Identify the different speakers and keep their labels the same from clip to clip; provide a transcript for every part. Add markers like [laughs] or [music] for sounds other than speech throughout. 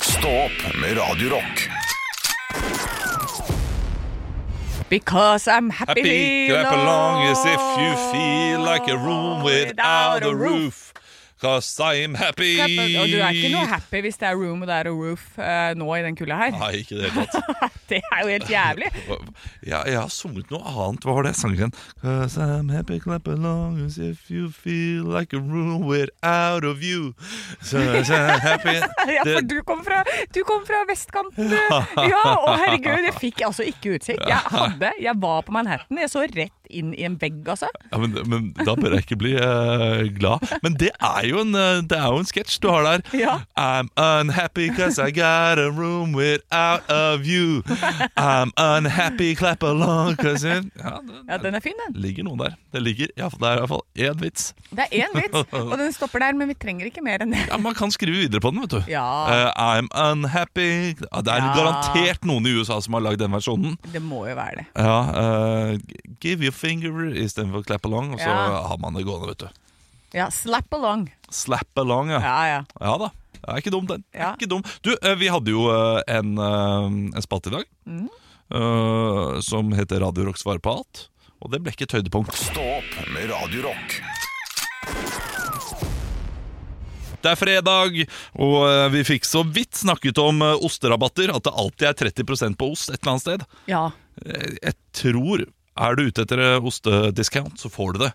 Speaker 1: Stå opp med Radio Rock
Speaker 2: Because I'm happy,
Speaker 3: Happy clap along as if you feel like a room without a roof. Cause I'm happy.
Speaker 2: Clap al- Og du er ikke noe happy hvis det er room og det er a roof eh, nå i den kulda her.
Speaker 3: [laughs] Nei, ikke det hele tatt.
Speaker 2: [laughs] Det er jo helt jævlig.
Speaker 3: Ja, jeg har sunget noe annet. Hva var det sangen? Cause I'm happy, clap along as if you feel like a room without a view. So I'm happy.
Speaker 2: Ja, for
Speaker 3: Det-
Speaker 2: du kom fra, du kom fra
Speaker 3: [laughs]
Speaker 2: vestkanten, du. Ja, å herregud, jeg fikk altså ikke utsikt. Jeg hadde, jeg var på Manhattan, jeg så rett inn i en vegg, altså.
Speaker 3: Ja, men, men da bør jeg ikke bli eh, glad. Men det er jo en, eh, det er jo en sketsj du har der.
Speaker 2: Ja.
Speaker 3: I'm unhappy cause I got a room without a view. I'm unhappy, clap along cause it Ja, det
Speaker 2: Ja, den er fin, den.
Speaker 3: ligger noe der. Det ligger, ja, for det er i hvert fall én vits.
Speaker 2: Det er én vits, og den stopper der, men vi trenger ikke mer enn det.
Speaker 3: Ja, Man kan skrive videre på den, vet du.
Speaker 2: Ja.
Speaker 3: Eh, I'm unhappy ja, Det er
Speaker 2: Ja.
Speaker 3: garantert noen i USA som har lagd den versjonen.
Speaker 2: Det må jo være det.
Speaker 3: Ja, eh, Give your finger istedenfor clap along, og så
Speaker 2: Ja.
Speaker 3: har man det gående, vet du.
Speaker 2: Ja, slap along.
Speaker 3: Slap along,
Speaker 2: Ja, ja.
Speaker 3: Ja da. Det er ikke dum, den. Det
Speaker 2: Ja.
Speaker 3: Er ikke dum. Du, eh, vi hadde jo eh, en, eh, en spalte i dag eh, som heter Radio Rock svarer på alt. Og det ble ikke et høydepunkt.
Speaker 1: Stå opp med Radio Rock
Speaker 3: Det er fredag, og eh, vi fikk så vidt snakket om eh, osterabatter. At det alltid er 30 på ost et eller annet sted.
Speaker 2: Ja.
Speaker 3: Eh, Jeg tror Er du ute etter eh, ostediscount, så får du det.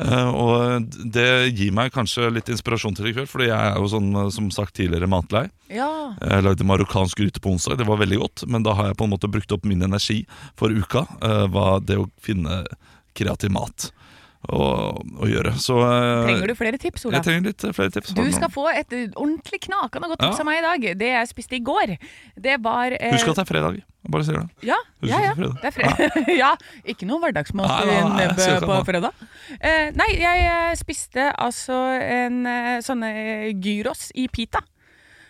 Speaker 3: Eh, og det gir meg kanskje litt inspirasjon til i kveld, fordi jeg er jo sånn, eh, som sagt tidligere matlei.
Speaker 2: Ja.
Speaker 3: Jeg lagde marokkansk gryte på onsdag, det var veldig godt. Men da har jeg på en måte brukt opp min energi for uka. eh, var det å finne kreativ mat å, å gjøre. Så eh,
Speaker 2: Trenger du flere tips, Ola?
Speaker 3: Jeg trenger litt eh, flere tips.
Speaker 2: Du skal få et ordentlig knakende godt tips
Speaker 3: Ja.
Speaker 2: av meg i dag. Det jeg spiste i går, det var eh,
Speaker 3: Husk at det er fredag. Jeg Bare sier det.
Speaker 2: ja,
Speaker 3: husk
Speaker 2: ja, ja,
Speaker 3: at det er fredag.
Speaker 2: det er fredag. [laughs] ja, ikke noe hverdagsmat
Speaker 3: Nei,
Speaker 2: i
Speaker 3: nei, nei, jeg
Speaker 2: nebbet
Speaker 3: ser det
Speaker 2: på
Speaker 3: nå.
Speaker 2: fredag. Eh, nei, jeg eh, spiste altså en eh, sånne gyros i pita.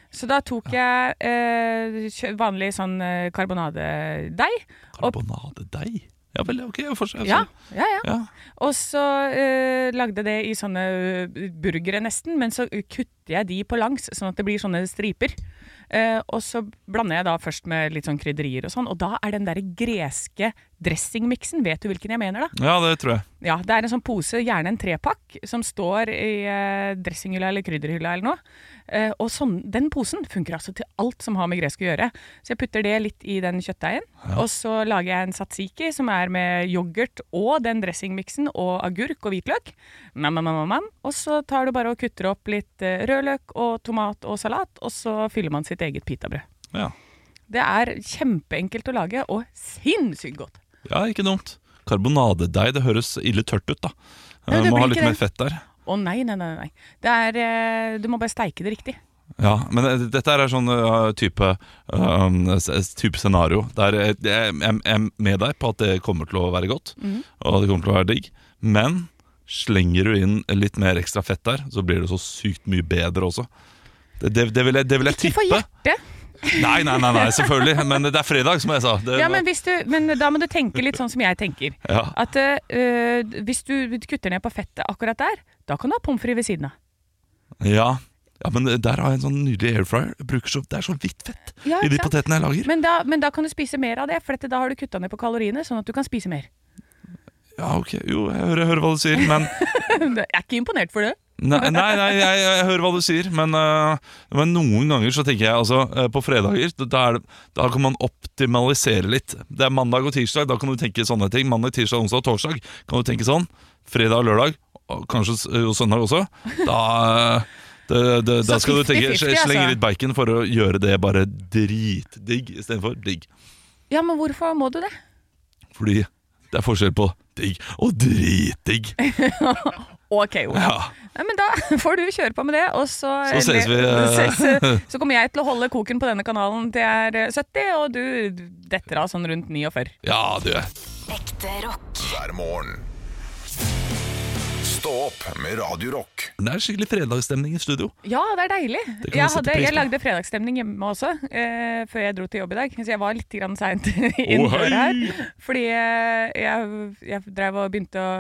Speaker 2: Så da tok jeg eh, kjø- vanlig sånn eh, karbonadedeig. Og-
Speaker 3: Karbonadedeig. Ja sånn. vel, ok. Jeg forstår.
Speaker 2: Ja, ja, ja.
Speaker 3: ja.
Speaker 2: Og så eh, lagde jeg det i sånne eh, burgere nesten, men så kutter jeg de på langs, sånn at det blir sånne striper. Eh, og så blander jeg da først med litt sånn krydderier og sånn, og da er den der greske dressingmiksen, vet du hvilken jeg mener da?
Speaker 3: Ja, det tror jeg.
Speaker 2: Ja, det er en sånn pose, gjerne en trepakk, som står i eh, dressinghylla eller krydderhylla eller noe. Eh, og sånn, den posen funker altså til alt som har med gresk å gjøre. Så jeg putter det litt i den kjøttdeigen. Og så lager jeg en satsiki som er med yoghurt og den dressingmiksen og agurk og hvitløk. Nam, nam, nam, nam, nam. Og så tar du bare og kutter opp litt eh, rødløk og tomat og salat, og så fyller man sitt eget pitabrød.
Speaker 3: Ja,
Speaker 2: Det er kjempeenkelt å lage, og sinnssykt godt.
Speaker 3: ja ikke dumt. Karbonadedeig, det høres ille tørt ut, da.
Speaker 2: Nei,
Speaker 3: Eh,
Speaker 2: det
Speaker 3: Må ha
Speaker 2: blir
Speaker 3: litt
Speaker 2: ikke
Speaker 3: mer
Speaker 2: det.
Speaker 3: fett der.
Speaker 2: Å nei, nei, nei. nei. Det er, eh, du må bare steike det riktig.
Speaker 3: Ja, men eh, dette her er sånn eh, type, um, s- s- type scenario der jeg, jeg, jeg er med deg på at det kommer til å være godt,
Speaker 2: Mhm.
Speaker 3: og det kommer til å være digg, men slenger du inn litt mer ekstra fett der, så blir det så sykt mye bedre også. Det, det, det, vil, jeg, det vil jeg
Speaker 2: Ikke for
Speaker 3: tippe.
Speaker 2: hjertet.
Speaker 3: Nei, nei, nei, nei, selvfølgelig. Men det er fredag, som jeg sa. Det,
Speaker 2: Ja, men, hvis du, men da må du tenke litt sånn som jeg tenker.
Speaker 3: ja.
Speaker 2: At eh, hvis du kutter ned på fettet akkurat der, da kan du ha pommes frites ved siden av.
Speaker 3: Ja. ja, men der har jeg en sånn nydelig air fryer. Jeg bruker så, det er så vidt fett
Speaker 2: Ja,
Speaker 3: i de
Speaker 2: ikke sant?
Speaker 3: potetene jeg lager.
Speaker 2: Men da, men da kan du spise mer av det, for dette, da har du kutta ned på kaloriene, sånn at du kan spise mer. [laughs]
Speaker 3: Ja, ok. Jo, jeg hører, hører hva du sier, men
Speaker 2: Jeg er ikke imponert for det.
Speaker 3: Nei, nei, nei jeg, jeg hører hva du sier, men, øh, men noen ganger så tenker jeg altså, øh, På fredager, da, er, det- da kan man optimalisere litt. Det er mandag og tirsdag, da kan du tenke sånne ting. Mandag, tirsdag, onsdag og torsdag kan du tenke sånn. Fredag og lørdag, og kanskje s- eh, og søndag også. Da, øh, det, det, da
Speaker 2: Så
Speaker 3: skal du tenke
Speaker 2: 50-50, altså.
Speaker 3: slenge litt bacon for å gjøre det bare dritdigg istedenfor digg.
Speaker 2: Ja, men hvorfor må du det?
Speaker 3: Fordi det er forskjell på digg og
Speaker 2: [laughs]
Speaker 3: dritdigg.
Speaker 2: OK, Ola.
Speaker 3: Ja.
Speaker 2: Nei, men da [laughs] får du kjøre på med det, og så
Speaker 3: Så ses vi,
Speaker 2: eller-
Speaker 3: eh.
Speaker 2: ses- [laughs]
Speaker 3: [laughs]
Speaker 2: Så kommer jeg til å holde koken på denne kanalen til jeg er 70, og du detter av sånn rundt 49.
Speaker 3: ja, du.
Speaker 4: Ekte rock.
Speaker 1: hver morgen. Stå opp med Radio Rock. rock.
Speaker 3: Det er skikkelig fredagsstemning i studio.
Speaker 2: Ja, det er deilig.
Speaker 3: Det kan man
Speaker 2: Jeg,
Speaker 3: sette
Speaker 2: hadde,
Speaker 3: pris
Speaker 2: jeg
Speaker 3: på.
Speaker 2: lagde fredagsstemning hjemme også, eh, før jeg dro til jobb i dag. Så jeg var litt grann [laughs] seint inn
Speaker 3: Å, hei!
Speaker 2: døra her. Fordi eh, jeg, jeg drev og begynte å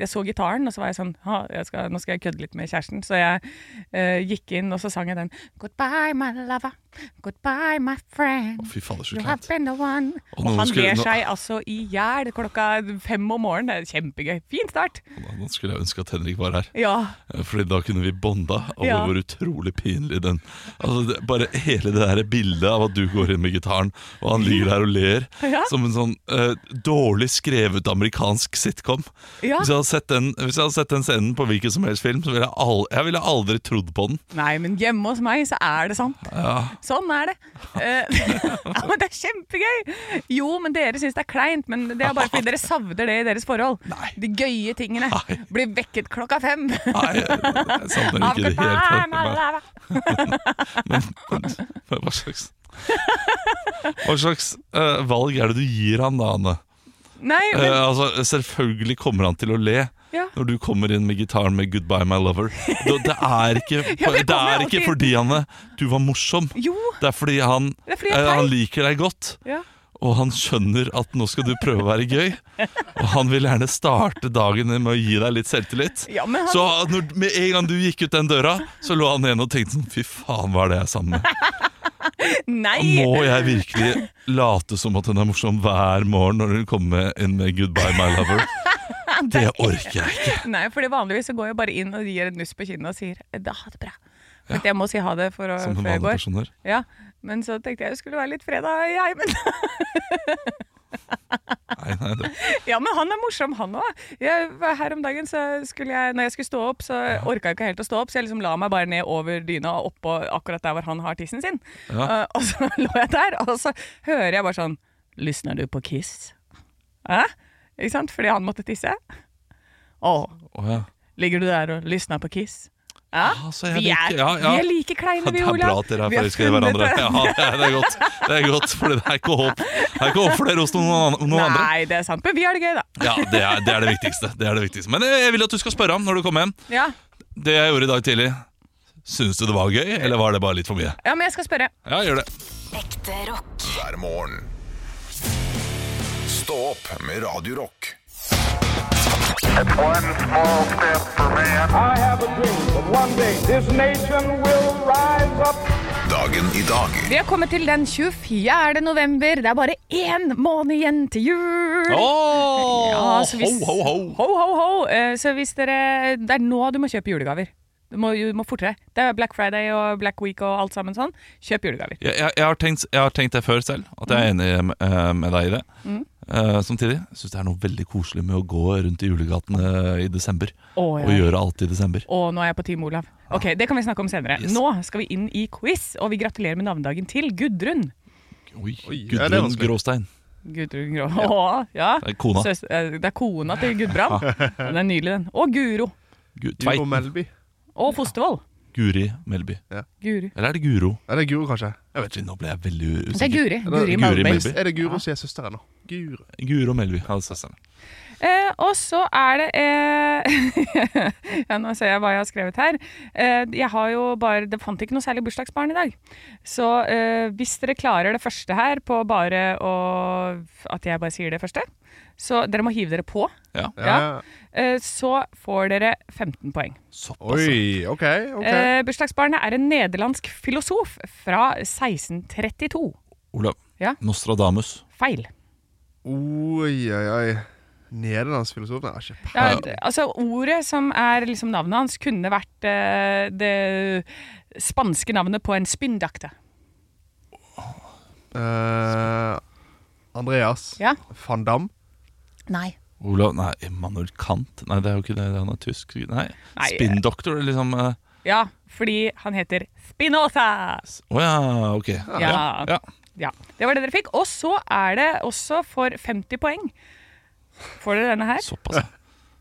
Speaker 2: Jeg så gitaren, og så var jeg sånn ha, jeg skal, Nå skal jeg kødde litt med kjæresten. Så jeg eh, gikk inn, og så sang jeg den. Goodbye, my lover. Goodbye, my friend.
Speaker 3: Fy fader, så
Speaker 2: You have
Speaker 3: kleint.
Speaker 2: been the one.
Speaker 3: Og
Speaker 2: Og
Speaker 3: noen
Speaker 2: han
Speaker 3: skulle-
Speaker 2: ler
Speaker 3: nå-
Speaker 2: seg altså i hjel klokka fem om morgenen. Det er kjempegøy. Fin start.
Speaker 3: Nå skulle jeg ønske at Henrik var her. eh,
Speaker 2: Ja.
Speaker 3: Fordi da kunne vi bonda over
Speaker 2: Ja.
Speaker 3: hvor utrolig pinlig den altså, det, Bare hele det der bildet av at du går inn med gitaren, og han ligger der og ler,
Speaker 2: Ja.
Speaker 3: som en sånn eh, dårlig skrevet amerikansk sitcom.
Speaker 2: ja.
Speaker 3: Hvis, jeg hadde sett den, hvis jeg hadde sett den scenen på hvilken som helst film, så ville jeg, al jeg ville aldri trodd på den.
Speaker 2: Nei, men hjemme hos meg så er det sant.
Speaker 3: Ja.
Speaker 2: Sånn er det. Eh, [laughs] ja, men det er kjempegøy! Jo, men dere syns det er kleint, men det er bare fordi dere savner det i deres forhold.
Speaker 3: Nei.
Speaker 2: De gøye tingene.
Speaker 3: Nei.
Speaker 2: Blir vekket klokka fem.
Speaker 3: Nei, jeg savner ikke det helt. Men, men, men hva slags Hva slags eh, valg er det du gir han da, Anne?
Speaker 2: Nei,
Speaker 3: Eh,
Speaker 2: men
Speaker 3: altså, selvfølgelig kommer han til å le
Speaker 2: Ja.
Speaker 3: når du kommer inn med gitaren med 'Goodbye, my lover'. Det, det er ikke,
Speaker 2: [laughs] Ja, men jeg
Speaker 3: det
Speaker 2: kommer
Speaker 3: er ikke
Speaker 2: alltid-
Speaker 3: fordi Anne, du var morsom.
Speaker 2: Jo!
Speaker 3: Det er fordi han,
Speaker 2: Det er fordi jeg er
Speaker 3: eh, han
Speaker 2: feil.
Speaker 3: liker deg godt,
Speaker 2: Ja.
Speaker 3: og han skjønner at nå skal du prøve å være gøy. Og han vil gjerne starte dagen med å gi deg litt selvtillit.
Speaker 2: Ja, men han-
Speaker 3: Så når, med en gang du gikk ut den døra, så lå han igjen og tenkte sånn Fy faen, hva er det jeg er sammen med?
Speaker 2: Nei!
Speaker 3: Må jeg virkelig late som at hun er morsom hver morgen når hun kommer inn med 'Goodbye, my lover'? Det orker jeg ikke.
Speaker 2: Nei, fordi vanligvis så går jeg bare inn og gir et nuss på kinnet og sier "Eh, «Da, ha det bra. For jeg må si ha det for å,
Speaker 3: Som en
Speaker 2: før jeg
Speaker 3: vanlig
Speaker 2: går.
Speaker 3: person her.
Speaker 2: Ja, men så tenkte jeg det skulle være litt fredag, jeg. Men,
Speaker 3: Nei, nei, det,
Speaker 2: ja, men han er morsom, han òg. Her om dagen så skulle jeg Når jeg skulle stå opp, så orka jeg ikke helt å stå opp, så jeg liksom la meg bare ned over dyna og oppå akkurat der hvor han har tissen sin.
Speaker 3: Ja.
Speaker 2: Eh, og så [laughs] lå jeg der, og så hører jeg bare sånn Lysner du på Kiss? Hæ? Ikke sant? Fordi han måtte tisse. Å,
Speaker 3: å ja.
Speaker 2: ligger du der og lysner på Kiss? Ja,
Speaker 3: Ah, så jeg
Speaker 2: vi, er,
Speaker 3: liker- ja, ja.
Speaker 2: vi er like kleine,
Speaker 3: Det
Speaker 2: vi,
Speaker 3: er
Speaker 2: Olav.
Speaker 3: bra at dere er
Speaker 2: Vi har
Speaker 3: forelska i
Speaker 2: funnet
Speaker 3: hverandre. Ja, det er, det er godt, Det er godt, for det er ikke håp Det er ikke håp for dere hos noen, an- noen andre.
Speaker 2: Nei, det er sant, men vi har det gøy, da.
Speaker 3: Ja, det er, det er det viktigste. Det er det viktigste. Men eh, jeg jeg vil at du skal spørre ham når du kommer hjem.
Speaker 2: Ja.
Speaker 3: Det jeg gjorde i dag tidlig, syns du det var gøy, eller var det bare litt for mye?
Speaker 2: ja, men jeg skal spørre.
Speaker 3: Ja, gjør det.
Speaker 4: Ekte rock.
Speaker 1: hver morgen. Stå opp med Radio Rock.
Speaker 5: One small step for man.
Speaker 6: I have a dream that one day this nation will rise up.
Speaker 1: Dagen i dag
Speaker 2: Vi har kommet til den 24. november. Det er bare én måned igjen til jul.
Speaker 3: Åh,
Speaker 2: Ja, så hvis-
Speaker 3: ho, ho, ho.
Speaker 2: Ho, ho, ho. Eh, Så hvis dere Det er nå du må kjøpe julegaver. Du må, du må fortere. Det er Black Friday og Black Week og alt sammen sånn. Kjøp julegaver.
Speaker 3: Jeg, jeg, jeg, har tenkt, jeg har tenkt det før selv, at jeg er enig eh, med deg i det.
Speaker 2: Mm.
Speaker 3: Eh, samtidig syns jeg det er noe veldig koselig med å gå rundt i julegatene i desember.
Speaker 2: Å, ja.
Speaker 3: Og gjøre alt i desember.
Speaker 2: Og nå er jeg på Team Olav. Ok, Det kan vi snakke om senere.
Speaker 3: Yes.
Speaker 2: Nå skal vi inn i quiz, og vi gratulerer med navnedagen til Gudrun.
Speaker 3: Oi,
Speaker 7: ja, det er
Speaker 3: Gudrun
Speaker 7: vanskelig.
Speaker 3: Gråstein.
Speaker 2: Gudrun Grå. Å, ja.
Speaker 3: Det er kona.
Speaker 2: Søs- eh, det er kona til Gudbrand. Den er nydelig, den. Og Guro.
Speaker 3: Gu-
Speaker 7: Guro
Speaker 3: Tveit.
Speaker 7: Melby.
Speaker 2: Og Fostervoll.
Speaker 3: Guri Melby.
Speaker 2: Guri.
Speaker 3: Eller er det Guro?
Speaker 7: Eller Guro, kanskje. Jeg vet ikke.
Speaker 3: Shit, Nå ble jeg veldig
Speaker 2: Det er
Speaker 3: usikker.
Speaker 2: Guri.
Speaker 7: Eller-
Speaker 2: Guri
Speaker 3: Guri
Speaker 2: Malmberg.
Speaker 3: Melby.
Speaker 7: Er det Guro som er søsteren nå? Guro.
Speaker 3: Guro Melby. Ja, søsteren.
Speaker 2: Eh, og så er det eh, [laughs] ja, Nå ser jeg hva jeg har skrevet her. Eh, jeg har jo bare Det fant ikke noe særlig bursdagsbarn i dag. Så eh, hvis dere klarer det første her på bare å At jeg bare sier det første. Så dere må hive dere på.
Speaker 3: Ja.
Speaker 2: Ja. Eh, så får dere 15 poeng.
Speaker 3: Såpass. ja.
Speaker 7: Oi, OK. ok
Speaker 2: Eh, bursdagsbarnet er en nederlandsk filosof fra 1632.
Speaker 3: Olav.
Speaker 2: Ja.
Speaker 3: Nostradamus.
Speaker 2: Feil.
Speaker 7: Oi, oi, oi. Nederlandsfilosof? Nei, jeg har ikke
Speaker 2: Ja, d- altså Ordet som er liksom navnet hans, kunne vært eh, det spanske navnet på en spinndakte.
Speaker 7: Eh, Andreas
Speaker 2: Ja.
Speaker 7: van Dam.
Speaker 2: Nei.
Speaker 3: Olav, nei, Immanuel Kant. Nei, det er jo ikke det. Han er tysk. Nei,
Speaker 2: Nei, eh.
Speaker 3: Spinndoktor, liksom. eh,
Speaker 2: Ja, fordi han heter Spinoza!
Speaker 3: Å ja, ok.
Speaker 2: Ja.
Speaker 3: ja.
Speaker 2: Ja, Det var det dere fikk. Og så er det også for 50 poeng. Får dere denne her?
Speaker 3: Såpass, ja.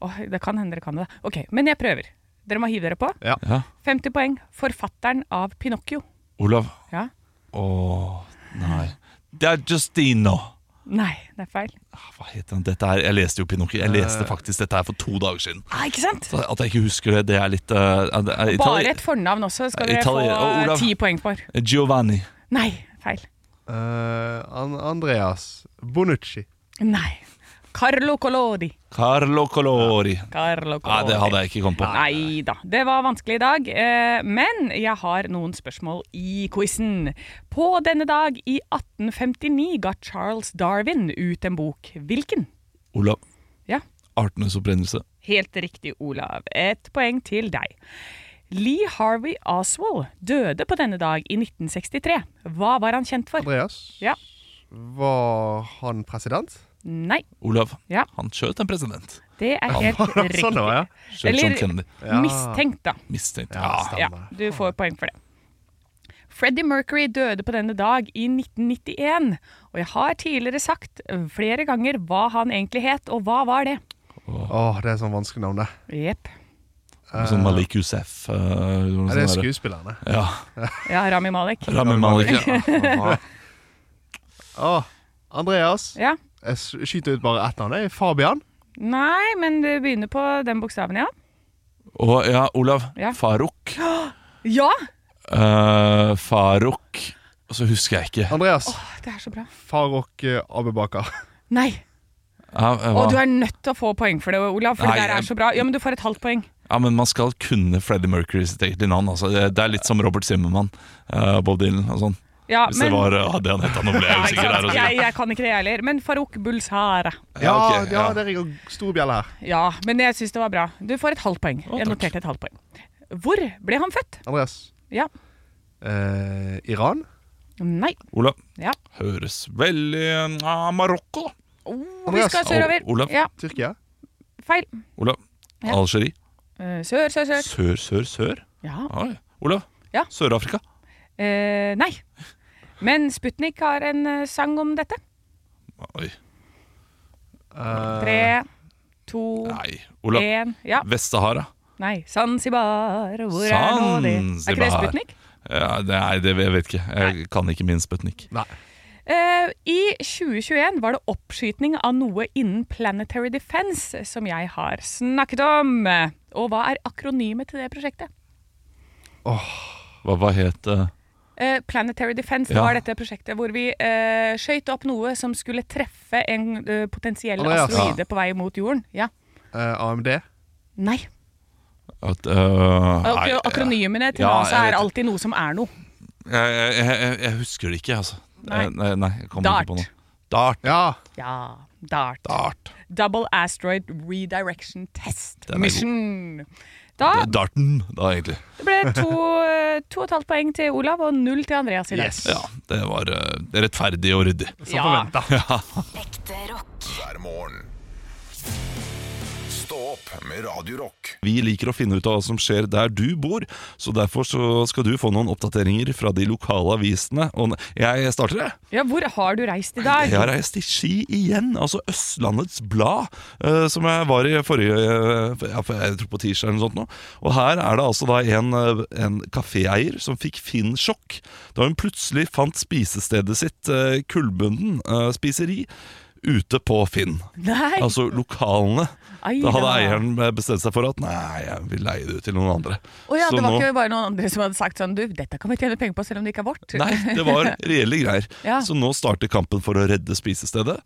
Speaker 2: Åh, det kan hende dere kan det. da. Ok, Men jeg prøver. Dere må hive dere på.
Speaker 7: Ja.
Speaker 3: ja.
Speaker 2: 50 poeng. Forfatteren av Pinocchio.
Speaker 3: Olav.
Speaker 2: Ja.
Speaker 3: Åh, nei. Det er Justino.
Speaker 2: Nei, det er feil.
Speaker 3: Ah, Hva heter den? Dette her, jeg leste jo Pinocchio. Jeg leste
Speaker 7: Eh.
Speaker 3: faktisk dette her for to dager siden.
Speaker 2: Ah, ikke sant?
Speaker 3: Så At jeg ikke husker det, det er litt eh, er det- er Itali-
Speaker 2: Bare et fornavn også skal dere
Speaker 3: Italia- og
Speaker 2: få eh,
Speaker 3: Olav.
Speaker 2: ti poeng for.
Speaker 3: Giovanni.
Speaker 2: Nei, feil.
Speaker 7: Eh, An Andreas Bonucci.
Speaker 2: Nei. Carlo Collodi.
Speaker 3: Carlo Colori.
Speaker 2: Carlo
Speaker 3: Nei,
Speaker 2: Collodi.
Speaker 3: det hadde jeg ikke kommet på.
Speaker 2: Nei da. Det var vanskelig i dag, eh, men jeg har noen spørsmål i quizen. På denne dag i 1859 ga Charles Darwin ut en bok. Hvilken?
Speaker 3: Olav.
Speaker 2: Ja,
Speaker 3: Artenes opprinnelse.
Speaker 2: helt riktig, Olav. Et poeng til deg. Lee Harvey Oswald døde på denne dag i 1963. Hva var han kjent for?
Speaker 7: Andreas,
Speaker 2: Ja.
Speaker 7: var han president?
Speaker 2: Nei.
Speaker 3: Olav.
Speaker 2: Ja.
Speaker 3: Han skjøt en president.
Speaker 2: Det er helt
Speaker 7: [laughs] Sånn
Speaker 2: riktig.
Speaker 7: det var, ja.
Speaker 3: Skjøt John
Speaker 2: Eller-
Speaker 3: Kennedy.
Speaker 2: Mistenkt, da.
Speaker 3: Mistenkt.
Speaker 7: Ja,
Speaker 3: Ja.
Speaker 7: stemmer.
Speaker 2: Ja, du får poeng for det. Freddie Mercury døde på denne dag i 1991, og jeg har tidligere sagt øh, flere ganger hva han egentlig het, og hva var det?
Speaker 7: Åh, det er sånn vanskelig navn, det.
Speaker 2: Jepp.
Speaker 3: Sånn Malik Yousef. eh, noe
Speaker 7: Ja, det er
Speaker 3: sånt der.
Speaker 7: skuespillerne.
Speaker 3: Ja.
Speaker 2: Ja, Rami Malek.
Speaker 3: Rami Malik. ja.
Speaker 7: Åh, Andreas.
Speaker 2: Ja.
Speaker 7: Jeg s- skyter ut bare ett navn. jeg. Fabian.
Speaker 2: Nei, men det begynner på den bokstaven, ja.
Speaker 3: [laughs] Og ja, Olav.
Speaker 2: Ja.
Speaker 3: Farouk.
Speaker 2: Ja!
Speaker 3: Eh, Farouk Og så husker jeg ikke.
Speaker 7: Andreas.
Speaker 2: Åh, det er så bra.
Speaker 7: Farok eh, Abubakar.
Speaker 2: Nei.
Speaker 3: Ja, eh,
Speaker 2: Og
Speaker 3: hva?
Speaker 2: du er nødt til å få poeng for det, Olav, for
Speaker 3: Nei,
Speaker 2: det der
Speaker 3: jeg-
Speaker 2: er så bra. Ja, men du får et halvt poeng.
Speaker 3: ja, men man skal kunne Freddie Mercury sitt eget navn. Altså. Det, det er litt som Robert Zimmermann, eh, Bob Dylan og sånn.
Speaker 2: Ja,
Speaker 3: Hvis
Speaker 2: men
Speaker 3: det var eh, hadde han hett, nå ble
Speaker 2: ja,
Speaker 3: jeg
Speaker 2: ikke
Speaker 3: usikker der.
Speaker 2: sant?
Speaker 3: og
Speaker 2: Jeg,
Speaker 3: sier.
Speaker 2: jeg kan ikke det, jeg heller. Men Farouk Bulsara.
Speaker 7: Ja,
Speaker 3: Ja, ok,
Speaker 7: ja,
Speaker 3: ja.
Speaker 7: det ringer stor bjelle her.
Speaker 2: Ja, men jeg syns det var bra. Du får et halvt poeng. jeg
Speaker 3: takk.
Speaker 2: noterte et halvt poeng. Hvor ble han født?
Speaker 7: Andreas.
Speaker 2: Ja.
Speaker 7: Eh, Iran?
Speaker 2: Nei.
Speaker 3: Olav.
Speaker 2: Ja.
Speaker 3: Høres veldig eh, Marokko, da.
Speaker 2: Oh, vi
Speaker 7: Andreas.
Speaker 2: skal sørover.
Speaker 3: Ol- Olav.
Speaker 2: Ja,
Speaker 7: Tyrkia?
Speaker 2: feil.
Speaker 3: Olav.
Speaker 2: Ja.
Speaker 3: Algerie.
Speaker 2: Eh, Sør, sør, sør.
Speaker 3: Sør, sør, sør.
Speaker 2: Ja.
Speaker 3: Oi. Olav.
Speaker 2: Ja.
Speaker 3: Sør-Afrika.
Speaker 2: Eh, nei. Men Sputnik har en eh, sang om dette.
Speaker 3: Oi.
Speaker 7: Eh,
Speaker 2: Tre, to,
Speaker 3: Nei. Olav.
Speaker 2: én Ja.
Speaker 3: Vest-Sahara.
Speaker 2: Nei. Zanzibar, hvor er nå det? Er ikke det
Speaker 3: Zanzibar.
Speaker 2: Sputnik?
Speaker 3: Ja, det- nei, det jeg vet ikke. Jeg kan ikke min Sputnik.
Speaker 7: Nei.
Speaker 2: Eh, I 2021 var det oppskytning av noe innen Planetary Defense som jeg har snakket om. Og hva er akronymet til det prosjektet?
Speaker 3: Hva, hva het det?
Speaker 2: Eh, Planetary Defense
Speaker 3: Ja.
Speaker 2: var dette prosjektet hvor vi uh, skøyt opp noe som skulle treffe en eh, potensiell
Speaker 7: Andreas.
Speaker 2: asteroide på vei mot jorden. Ja.
Speaker 7: Eh, AMD?
Speaker 2: Nei.
Speaker 3: At, øh,
Speaker 2: Ak
Speaker 3: nei,
Speaker 2: Akronymene til
Speaker 3: Ja,
Speaker 2: NASA
Speaker 3: jeg
Speaker 2: er
Speaker 3: vet-
Speaker 2: alltid noe som er noe.
Speaker 3: Jeg, jeg, jeg, jeg husker det ikke, altså.
Speaker 2: Nei.
Speaker 3: Eh, Nei, nei, jeg kommer
Speaker 2: Dart.
Speaker 3: ikke på noe. Dart.
Speaker 7: Ja.
Speaker 2: Ja, DART.
Speaker 3: Dart.
Speaker 2: Double Asteroid Redirection Test
Speaker 3: Den er god.
Speaker 2: Mission. Da
Speaker 3: Det er Darten, da, egentlig.
Speaker 2: det ble to, eh, to og et halvt poeng til Olav og null til Andreas i dag.
Speaker 7: Yes.
Speaker 3: Ja, det var eh, det er rettferdig og ryddig.
Speaker 7: Som
Speaker 2: Ja.
Speaker 7: forventa.
Speaker 4: Ekte rock.
Speaker 1: hver morgen. Stå opp med Radio Rock.
Speaker 3: Vi liker å finne ut av hva som skjer der du bor, så derfor så skal du få noen oppdateringer fra de lokale avisene. Og ne- jeg starter, jeg.
Speaker 2: Ja, hvor har du reist i dag?
Speaker 3: Jeg har reist til Ski igjen, altså Østlandets Blad, eh, som jeg var i forrige eh, ja, for Jeg tror på tirsdag eller noe sånt. Nå. Og her er det altså da en, eh, en kaféeier som fikk Finn-sjokk da hun plutselig fant spisestedet sitt, eh, Kullbunden eh, spiseri, ute på Finn.
Speaker 2: Nei,
Speaker 3: Altså lokalene.
Speaker 2: Ai
Speaker 3: Da hadde
Speaker 2: da.
Speaker 3: eieren bestemt seg for at nei, jeg vil leie det ut til noen andre.
Speaker 2: Å ja,
Speaker 3: Så
Speaker 2: det var
Speaker 3: nå-
Speaker 2: ikke bare noen andre som hadde sagt sånn Du, dette kan vi tjene penger på selv om det ikke er vårt.
Speaker 3: Nei,
Speaker 2: [laughs]
Speaker 3: det var reelle greier.
Speaker 2: Ja.
Speaker 3: Så nå starter kampen for å redde spisestedet.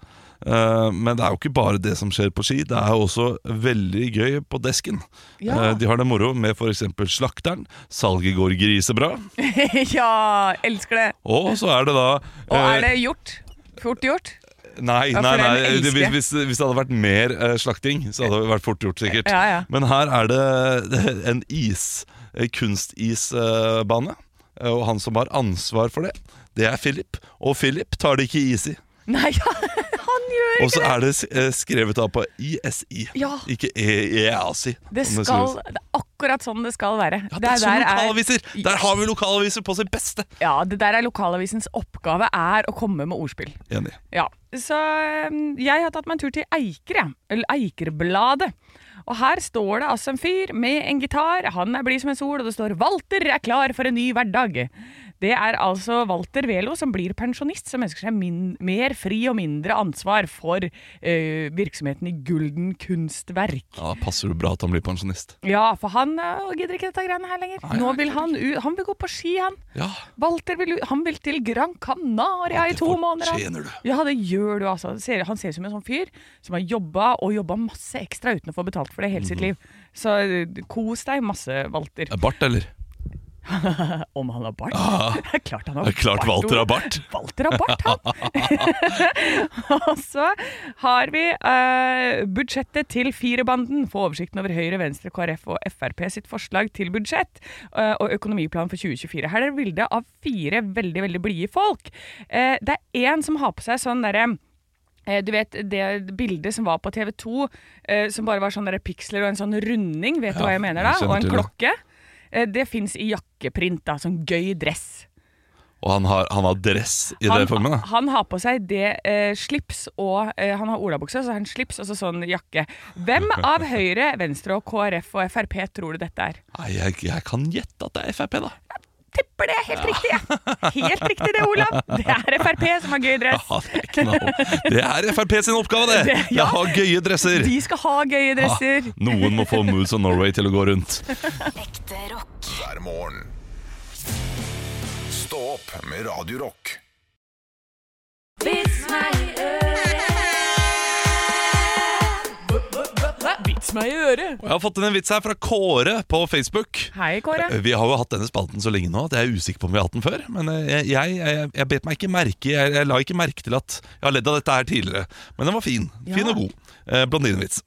Speaker 3: Eh, men det er jo ikke bare det som skjer på ski, det er jo også veldig gøy på desken.
Speaker 2: Ja.
Speaker 3: Eh, de har det moro med f.eks. Slakteren, salget går grisebra,
Speaker 2: [laughs] ja, elsker det.
Speaker 3: og så er det da
Speaker 2: Og er
Speaker 3: eh,
Speaker 2: det gjort? Fort gjort?
Speaker 3: Nei,
Speaker 2: Ja,
Speaker 3: nei,
Speaker 2: for den
Speaker 3: nei. Det,
Speaker 2: elsker
Speaker 3: hvis,
Speaker 2: jeg.
Speaker 3: hvis, hvis det hadde vært mer eh, slakting, så hadde det vært fort gjort, sikkert.
Speaker 2: Ja, ja.
Speaker 3: Men her er det en is, eh, kunstisbane, eh, og han som har ansvar for det, det er Philip. Og Philip tar det ikke is i.
Speaker 2: Nei, [laughs] han gjør
Speaker 3: Og så
Speaker 2: ikke det!
Speaker 3: er det eh, skrevet da på ISI,
Speaker 2: Ja.
Speaker 3: ikke E, EASI.
Speaker 2: Det, skal, det er akkurat sånn det skal være.
Speaker 3: ja, det er som
Speaker 2: der
Speaker 3: lokalaviser! Der har vi lokalaviser på sitt beste!
Speaker 2: ja, det der er lokalavisens oppgave, er å komme med ordspill.
Speaker 3: Enig.
Speaker 2: Ja, så øhm, jeg har tatt meg en tur til Eiker, jeg. Eller Eikerbladet. Og her står det altså en fyr med en gitar. Han er blid som en sol, og det står 'Walter er klar for en ny hverdag'. Det er altså Walter Velo som blir pensjonist, som ønsker seg min mer fri og mindre ansvar for eh, virksomheten i Gulden Kunstverk.
Speaker 3: Ja, passer det bra at han blir pensjonist?
Speaker 2: Ja, for han øh, gidder ikke dette greiene her lenger.
Speaker 3: Nei,
Speaker 2: Nå
Speaker 3: jeg
Speaker 2: vil han ut Han vil gå på ski, han.
Speaker 3: Ja.
Speaker 2: Walter vil, ut- han vil til Gran Canaria i
Speaker 3: det
Speaker 2: to måneder. han.
Speaker 3: fortjener du.
Speaker 2: Ja, det gjør du, altså. Det Ser, han ser ut som en sånn fyr som har jobba og jobba masse ekstra uten å få betalt for det hele
Speaker 3: Mhm.
Speaker 2: sitt liv. Så øh, kos deg masse, Walter.
Speaker 3: Er Bart, eller?
Speaker 2: Om han har bart? [laughs] Det er klart han har
Speaker 3: Ah. Er klart Walter har bart.
Speaker 2: Walter har bart, han. [laughs] og så har vi eh, budsjettet til Firebanden. Få oversikten over Høyre, Venstre, KrF og Frp sitt forslag til budsjett eh, og økonomiplan for 2024. Her er det bilde av fire veldig, veldig blide folk. Eh, det er én som har på seg sånn derre Eh, Du vet det bildet som var på TV 2, eh, som bare var sånne der piksler og en sånn runding, vet du
Speaker 3: Ja,
Speaker 2: hva jeg mener da?
Speaker 3: jeg kjenner
Speaker 2: Og en
Speaker 3: til det.
Speaker 2: klokke. Eh, Det fins i jakkeprint, da. Sånn gøy dress.
Speaker 3: Og han har, han har dress i det formen, da.
Speaker 2: han har på seg det eh, slips og eh, Han har olabukse, så har han slips og så sånn jakke. Hvem
Speaker 3: [laughs]
Speaker 2: av Høyre, Venstre og KrF og Frp tror du dette er?
Speaker 3: Nei, jeg, jeg kan gjette at det er Frp, da.
Speaker 2: Tipper det er helt riktig, jeg. [laughs] Helt riktig det, Olav. Det er Frp som har gøy dress.
Speaker 3: Ja, det er knall. Det er Frp sin oppgave, det!
Speaker 2: [laughs] Det- ja.
Speaker 3: Det har gøye dresser.
Speaker 2: De skal ha gøye dresser.
Speaker 3: Ah, noen må få Moods of Norway til å gå rundt.
Speaker 4: ekte rock,
Speaker 1: hver morgen. Stå opp med Radio Rock.
Speaker 2: Vits meg i øret.
Speaker 3: Og Jeg har fått inn en vits her fra Kåre på Facebook.
Speaker 2: Hei, Kåre.
Speaker 3: Vi har jo hatt denne spalten så lenge nå at jeg er usikker på om vi har hatt den før. Men eh, jeg, jeg, jeg, jeg bet meg ikke merke jeg, jeg la ikke merke til at jeg har ledd av dette her tidligere. Men den var fin. Fin og god. Eh, blondinevits.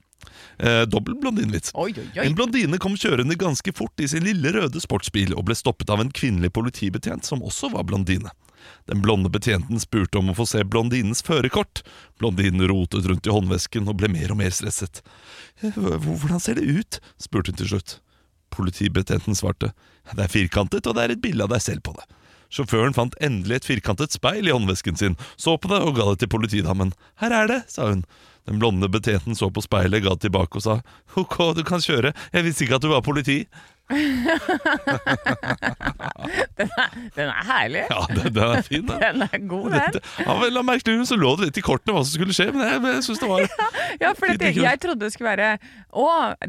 Speaker 3: Eh, dobbel blondinevits.
Speaker 2: Oi, oi, oi.
Speaker 3: En blondine kom kjørende ganske fort i sin lille røde sportsbil og ble stoppet av en kvinnelig politibetjent som også var blondine. Den blonde betjenten spurte om å få se blondinens førerkort. Blondinen rotet rundt i håndvesken og ble mer og mer stresset. «Eh, hv- Hvordan ser det ut? spurte hun til slutt. Politibetjenten svarte. Det er firkantet, og det er et bilde av deg selv på det. Sjåføren fant endelig et firkantet speil i håndvesken sin, så på det og ga det til politidamen. Her er det, sa hun. Den blonde betjenten så på speilet, ga det tilbake og sa ok, du kan kjøre, jeg visste ikke at du var politi.
Speaker 2: Den er herlig.
Speaker 3: eh. Ja, den, den er fin,
Speaker 2: [laughs]
Speaker 3: den.
Speaker 2: Den er god, den.
Speaker 3: Dette, av en eller annen merkelig grunn så lå det litt i kortene hva som skulle skje, men jeg, jeg synes det var
Speaker 2: Ja, for dette,
Speaker 3: Litt kult.
Speaker 2: jeg trodde det skulle være Å,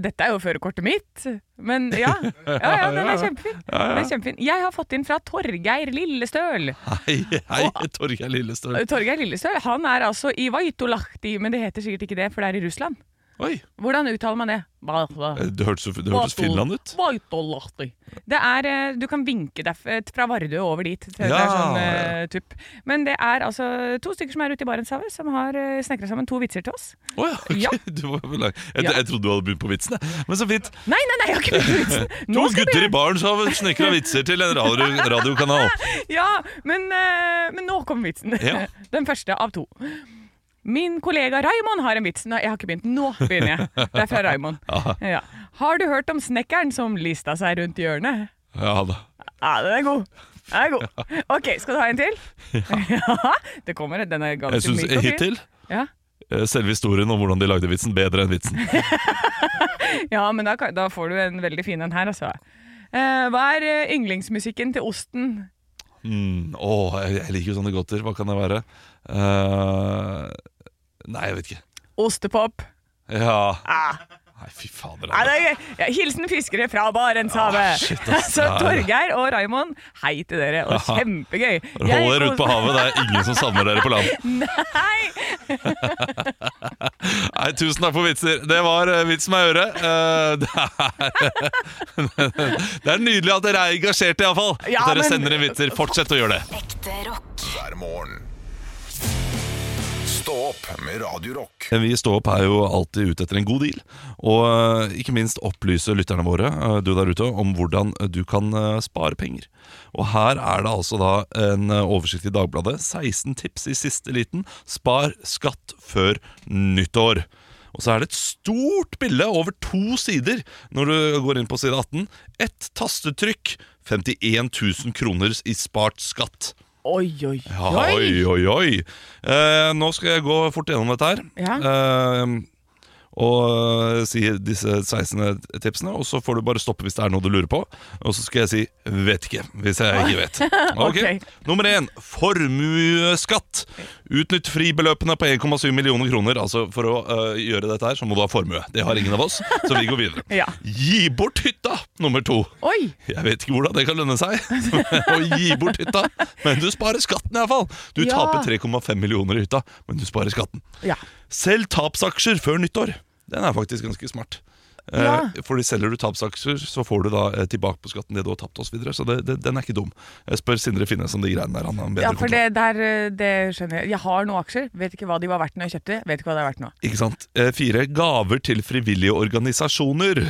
Speaker 2: dette er jo førerkortet mitt. Men ja. Ja,
Speaker 3: [laughs]
Speaker 2: ja, den er kjempefin. Den er kjempefin. Jeg har fått inn fra Torgeir Lillestøl.
Speaker 3: Hei, hei, Torgeir Lillestøl.
Speaker 2: Torgeir Lillestøl han er altså i Vaitolahti, men det heter sikkert ikke det, for det er i Russland.
Speaker 3: Oi,
Speaker 2: Hvordan uttaler man det?
Speaker 3: det hørtes, det hørtes Finland ut.
Speaker 2: Vaitolahti. Det er eh, Du kan vinke derf- fra Vardø over dit. Til det er
Speaker 3: Ja.
Speaker 2: sånn, eh, tupp. Men det er altså to stykker som er ute i Barentshavet, som har eh, snekra sammen to vitser til oss.
Speaker 3: Å ja, ok,
Speaker 2: Ja.
Speaker 3: du var vel lang. Jeg,
Speaker 2: Ja.
Speaker 3: jeg trodde du hadde begynt på vitsene, men så fint.
Speaker 2: Nei, nei, nei, jeg har
Speaker 3: [laughs]
Speaker 2: ikke begynt på vitsen!
Speaker 3: To
Speaker 2: Nå skal vi
Speaker 3: gutter i baren som har snekra vitser til en radio, radiokanal.
Speaker 2: Ja, men, eh, men nå kommer vitsen.
Speaker 3: Ja.
Speaker 2: [laughs] Den første av to. Min kollega Raymond har en vits. Nei, jeg har ikke begynt. Nå begynner jeg. Det er fra
Speaker 3: [laughs]
Speaker 2: Raymond. Ja. Har du hørt om snekkeren som lista seg rundt hjørnet?
Speaker 3: Ja da.
Speaker 2: Ja, den er god. Den er god. OK, skal du ha en
Speaker 3: [laughs]
Speaker 2: til? Ja. Det kommer en. Den er ganske
Speaker 3: Jeg syns
Speaker 2: myk og fin.
Speaker 3: hittil
Speaker 2: Ja.
Speaker 3: eh, selve historien om hvordan de lagde vitsen, bedre enn vitsen.
Speaker 2: ja, men da, kan- da får du en veldig fin en her, altså. Eh, hva er eh, yndlingsmusikken til osten?
Speaker 3: Mm, åh, jeg, jeg liker jo sånne godter. Hva kan det være? Eh, nei, jeg vet ikke.
Speaker 2: Ostepop.
Speaker 3: Ja Nei, fy fader.
Speaker 2: Ah. Nei,
Speaker 3: altså.
Speaker 2: det er gøy. Ja, Hilsen fiskere fra Barentshavet.
Speaker 3: Ah, shit, ass.
Speaker 2: [laughs] så Torgeir og Raymond, hei til dere. Og kjempegøy.
Speaker 3: Roll dere ut på havet, det er ingen som savner dere på land.
Speaker 2: [laughs] Nei!
Speaker 3: Nei, Tusen takk for vitser. Det var eh, vits meg i øret. Eh, [laughs] det, er, [laughs] det er nydelig at dere er engasjerte, iallfall.
Speaker 2: Ja,
Speaker 3: at dere
Speaker 2: men-
Speaker 3: sender inn vitser. Fortsett å gjøre det.
Speaker 4: ekte rock.
Speaker 1: Hver morgen. Stå opp med Radio Rock.
Speaker 3: Vi i Stå opp er jo alltid ute etter en god deal, og eh, ikke minst opplyse lytterne våre, eh, du der ute, om hvordan du kan eh, spare penger. Og her er det altså da en eh, oversikt i Dagbladet. 16 tips i siste liten. Spar skatt før nyttår. Og så er det et stort bilde over to sider når du går inn på side 18. Ett tastetrykk. 51 000 kroner i spart skatt.
Speaker 2: Oi, oi,
Speaker 3: Ja,
Speaker 2: oi.
Speaker 3: Oi, oi, oi. Eh, nå skal jeg gå fort gjennom dette her.
Speaker 2: Ja.
Speaker 3: Eh, og eh, si disse 16 tipsene, og så får du bare stoppe hvis det er noe du lurer på. Og så skal jeg si 'vet ikke', hvis jeg ikke
Speaker 2: [laughs]
Speaker 3: vet. Ok.
Speaker 2: Ok.
Speaker 3: Nummer én formuesskatt. Utnytt fribeløpene på 1,7 millioner kroner. Altså For å eh, gjøre dette her, så må du ha formue. Det har ingen av oss, så vi går videre.
Speaker 2: [laughs] Ja.
Speaker 3: Gi bort hytta, nummer to.
Speaker 2: Oi!
Speaker 3: Jeg vet ikke hvordan det kan lønne seg [laughs] å gi bort hytta, men du sparer skatten iallfall. Du
Speaker 2: Ja.
Speaker 3: taper 3,5 millioner i hytta, men du sparer skatten.
Speaker 2: Ja.
Speaker 3: Selg tapsaksjer før nyttår. Den er faktisk ganske smart. Eh,
Speaker 2: Ja.
Speaker 3: Fordi Selger du tapsaksjer, så får du da eh, tilbake på skatten det du har tapt osv. Så, videre. så det, det, den er ikke dum. Jeg spør Sindre Finnes om de greiene der. Han har en bedre
Speaker 2: Ja, for det der, eh, det skjønner jeg. Jeg har noen aksjer, vet ikke hva de var verdt når jeg kjøpte, vet ikke hva de er verdt nå.
Speaker 3: Ikke sant? Eh, Fire gaver til frivillige organisasjoner.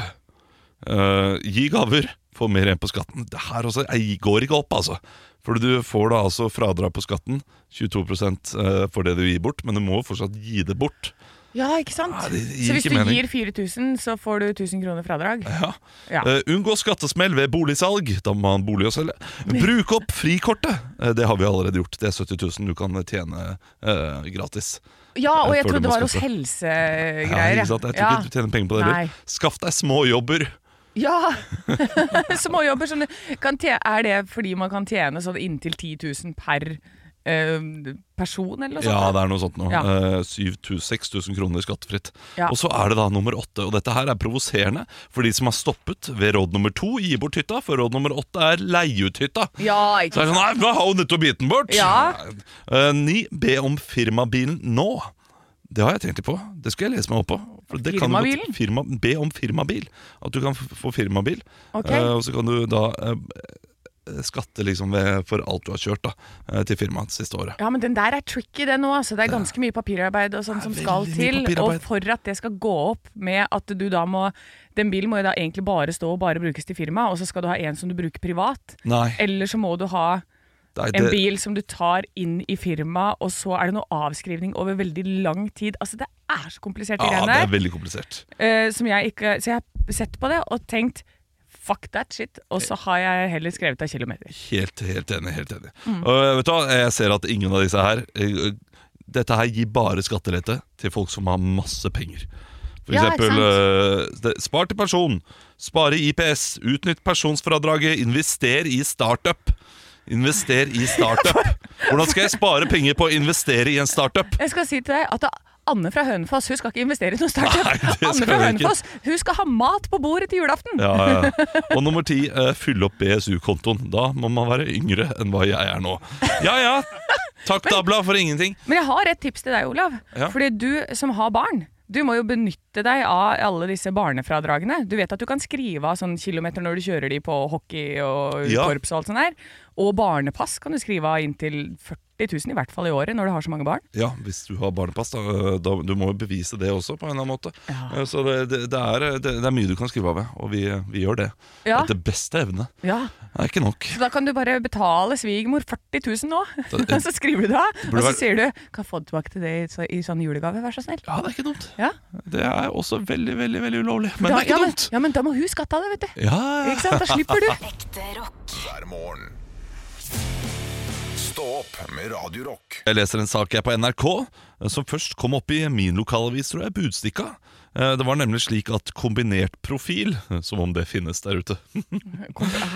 Speaker 3: Eh, gi gaver, få mer igjen på skatten. Det her også eh, går ikke opp, altså. For du får da altså fradrag på skatten, 22 eh, for det du gir bort, men du må fortsatt gi det bort.
Speaker 2: Ja, ikke sant?
Speaker 3: Ja, det gir
Speaker 2: så hvis
Speaker 3: ikke
Speaker 2: du
Speaker 3: mening.
Speaker 2: gir 4000, så får du 1000 kroner fradrag.
Speaker 3: Ja.
Speaker 2: Ja.
Speaker 3: Eh, unngå skattesmell ved boligsalg. Da må man bolig å selge. Bruk opp frikortet. Eh, det har vi allerede gjort. Det er 70 000 du kan tjene eh, gratis.
Speaker 2: Ja, og jeg
Speaker 3: Før du
Speaker 2: trodde det
Speaker 3: må
Speaker 2: var hos
Speaker 3: skaffe. Ja,
Speaker 2: helsegreier.
Speaker 3: ikke sant? Jeg tror
Speaker 2: ja.
Speaker 3: ikke du tjener penger på det
Speaker 2: Nei.
Speaker 3: heller. Skaff deg små jobber.
Speaker 2: Ja! [laughs] Småjobber. Sånn, kan tje- er det fordi man kan tjene sånn inntil 10 000 per eh, person, eller noe sånt?
Speaker 3: Ja,
Speaker 2: da?
Speaker 3: det er noe sånt nå.
Speaker 2: sånn. Ja.
Speaker 3: Eh, 7000 6000 kroner skattefritt.
Speaker 2: Ja.
Speaker 3: Og så er det da nummer åtte. Og dette her er provoserende for de som har stoppet ved råd nummer to, gi bort hytta, for råd nummer åtte er leie ut hytta.
Speaker 2: Ja,
Speaker 3: Så
Speaker 2: ikke
Speaker 3: er det sånn, nei, vi har jo nettopp gitt den bort!
Speaker 2: Ja.
Speaker 3: Eh, ni, be om firmabilen nå. Det har jeg tenkt litt på. Det skal jeg lese meg opp på. For det kan du godt-
Speaker 2: Firmabilen?
Speaker 3: firma, be om firmabil. At du kan f- få firmabil.
Speaker 2: Ok.
Speaker 3: Eh, og så kan du da eh, skatte liksom ved, for alt du har kjørt da, eh, til firmaet siste året.
Speaker 2: Ja, men den der er tricky, den òg. Det er ganske mye papirarbeid og sånn som
Speaker 3: veldig
Speaker 2: skal
Speaker 3: mye
Speaker 2: til. Og
Speaker 3: papirarbeid.
Speaker 2: for at det skal gå opp med at du da må Den bilen må jo da egentlig bare stå og bare brukes til firma, og så skal du ha en som du bruker privat.
Speaker 3: Nei.
Speaker 2: Eller så må du ha
Speaker 3: Nei,
Speaker 2: en
Speaker 3: det-
Speaker 2: bil som du tar inn i firmaet, og så er det noe avskrivning over veldig lang tid. Altså, det er så komplisert, de
Speaker 3: Ja, det
Speaker 2: greiene
Speaker 3: er
Speaker 2: der.
Speaker 3: veldig komplisert.
Speaker 2: eh, som jeg ikke Så jeg har sett på det og tenkt fuck that shit, og så har jeg heller skrevet av kilometer.
Speaker 3: Helt, helt enig. helt enig
Speaker 2: Mm.
Speaker 3: Og eh, vet du hva, Jeg ser at ingen av disse her eh, Dette her gir bare skattelette til folk som har masse penger. For
Speaker 2: Ja, ikke
Speaker 3: eksempel eh, det- Spar til pensjon. Spare i IPS. Utnytt pensjonsfradraget. Invester i startup. Invester i startup.
Speaker 2: [laughs]
Speaker 3: Hvordan skal jeg spare penger på å investere i en startup?
Speaker 2: Jeg skal si til deg at da- Anne fra Hønefoss hun skal ikke investere i noen startup.
Speaker 3: Nei, det skal
Speaker 2: Anne fra
Speaker 3: hun ikke.
Speaker 2: Hønefoss hun skal ha mat på bordet til julaften!
Speaker 3: Ja, ja. Og nummer ti, eh, fyll opp BSU-kontoen. Da må man være yngre enn hva jeg er nå. Ja ja! Takk, Dabla, for ingenting.
Speaker 2: Men jeg har et tips til deg, Olav.
Speaker 3: Ja.
Speaker 2: Fordi du som har barn, du må jo benytte deg av alle disse barnefradragene. Du vet at du kan skrive av sånn kilometer når du kjører de på hockey og
Speaker 3: Ja.
Speaker 2: korps og alt sånt der. Og barnepass kan du skrive av inntil 40 000, i hvert fall i året, når du har så mange barn.
Speaker 3: Ja, hvis du har barnepass, da, eh, da du må jo bevise det også på en eller annen måte.
Speaker 2: Ja.
Speaker 3: Eh, Så det, det, det, er, eh, det, det er mye du kan skrive av, ja, og vi, vi gjør det.
Speaker 2: Ja.
Speaker 3: Etter beste evne.
Speaker 2: Ja.
Speaker 3: Det er ikke nok.
Speaker 2: Så da kan du bare betale svigermor 40 000 nå, og [laughs] så skriver du det av. Og
Speaker 3: eh, burde
Speaker 2: så
Speaker 3: være-
Speaker 2: sier du 'kan jeg få det tilbake til det i, så- i sånn julegave, vær så snill'.
Speaker 3: Ja, det er ikke dumt.
Speaker 2: Ja.
Speaker 3: Det er også veldig, veldig veldig ulovlig. Men
Speaker 2: Da-
Speaker 3: det er ikke
Speaker 2: ja,
Speaker 3: dumt.
Speaker 2: Men, ja, men da må hun skatte av det, vet du.
Speaker 3: Ja,
Speaker 2: Ikke sant? Da slipper
Speaker 3: [laughs]
Speaker 2: du.
Speaker 4: Ekte rock.
Speaker 1: hver morgen. Stå opp med Radio Rock.
Speaker 3: Jeg leser en sak her på NRK eh, som først kom opp i min lokalavis, tror jeg, Budstikka. Eh, Det var nemlig slik at kombinert profil, eh, som om det finnes der ute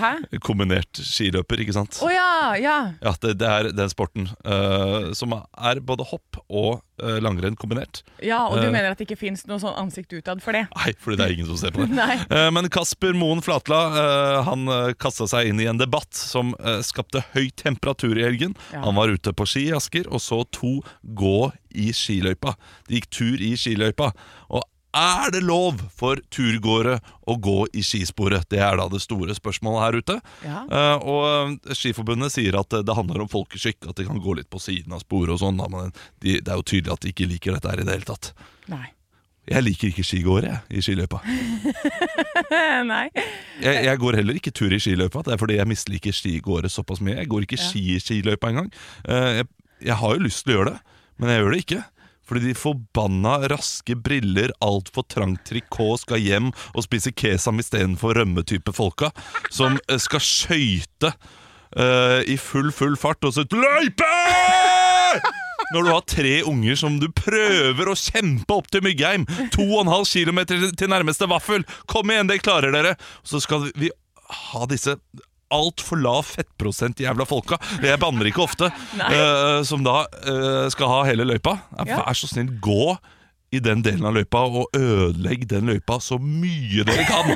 Speaker 2: Hæ?
Speaker 3: Kombinert skiløper, ikke sant?
Speaker 2: Å ja, ja.
Speaker 3: Ja, det, det er den sporten eh, som er både hopp og eh, langrenn kombinert.
Speaker 2: Ja, og du
Speaker 3: Eh.
Speaker 2: mener at det ikke fins noe sånn ansikt utad for det? [laughs]
Speaker 3: Nei, fordi det er ingen som ser på det.
Speaker 2: Nei.
Speaker 3: Eh, men Kasper Moen Flatla eh, han uh, kasta seg inn i en debatt som eh, skapte høy temperatur i helgen.
Speaker 2: Ja.
Speaker 3: Han var ute på ski i Asker og så to gå i skiløypa. De gikk tur i skiløypa. Og er det lov for turgåere å gå i skisporet? Det er da det store spørsmålet her ute.
Speaker 2: Ja.
Speaker 3: Eh, og eh, Skiforbundet sier at eh, det handler om folkeskikk, at de kan gå litt på siden av sporet og sånn, da, men de, det er jo tydelig at de ikke liker dette her i det hele tatt.
Speaker 2: Nei.
Speaker 3: Jeg liker ikke skigåere jeg, i skiløypa.
Speaker 2: [laughs] Nei.
Speaker 3: Jeg, jeg går heller ikke tur i skiløypa. Det er fordi jeg misliker skigåere såpass mye. Jeg går ikke ski i skiløypa engang. Eh, Jeg, jeg har jo lyst til å gjøre det, men jeg gjør det ikke. Fordi de forbanna raske briller, altfor trangt trikot, skal hjem og spise kesam istedenfor rømmetype folka, som eh, skal skøyte eh, i full, full fart og så Løype! når du har tre unger som du prøver å kjempe opp til Myggheim. To og en halv kilometer til nærmeste vaffel. Kom igjen, det klarer dere. Så skal vi ha disse altfor lav fettprosent jævla folka. Jeg banner ikke ofte. eh, som da eh, skal ha hele løypa. Ja,
Speaker 2: Ja.
Speaker 3: Vær så snill, gå i den delen av løypa og ødelegg den løypa så mye dere kan.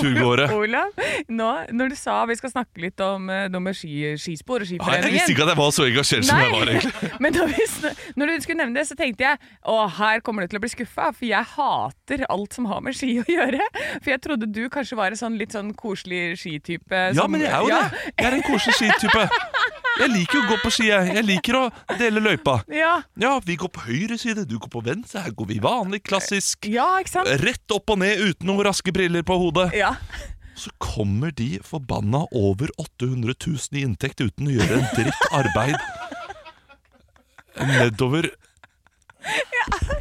Speaker 3: Turgåere.
Speaker 2: Olav, nå, når du sa vi skal snakke litt om, eh, om ski, skispor og
Speaker 3: Nei, jeg visste
Speaker 2: skiforeningen
Speaker 3: ikke at jeg var så engasjert som jeg var. egentlig
Speaker 2: [laughs] men når, vi, sn- når du skulle nevne det, så tenkte jeg å, her kommer du til å bli skuffa, for jeg hater alt som har med ski å gjøre. For jeg trodde du kanskje var en sånn litt sånn koselig skitype.
Speaker 3: Ja,
Speaker 2: som-
Speaker 3: men jeg er jo
Speaker 2: sånn- ja,
Speaker 3: det. Jeg er en koselig skitype. Jeg liker jo å gå på ski. Jeg Jeg liker å dele løypa.
Speaker 2: Ja,
Speaker 3: Ja, vi går på høyre side, du går på venstre. Her går vi vanlig, klassisk.
Speaker 2: ja, ikke sant?
Speaker 3: Rett opp og ned uten noen raske briller på hodet.
Speaker 2: Ja. [laughs]
Speaker 3: Så kommer de forbanna over 800 000 i inntekt uten å gjøre en dritt arbeid. Nedover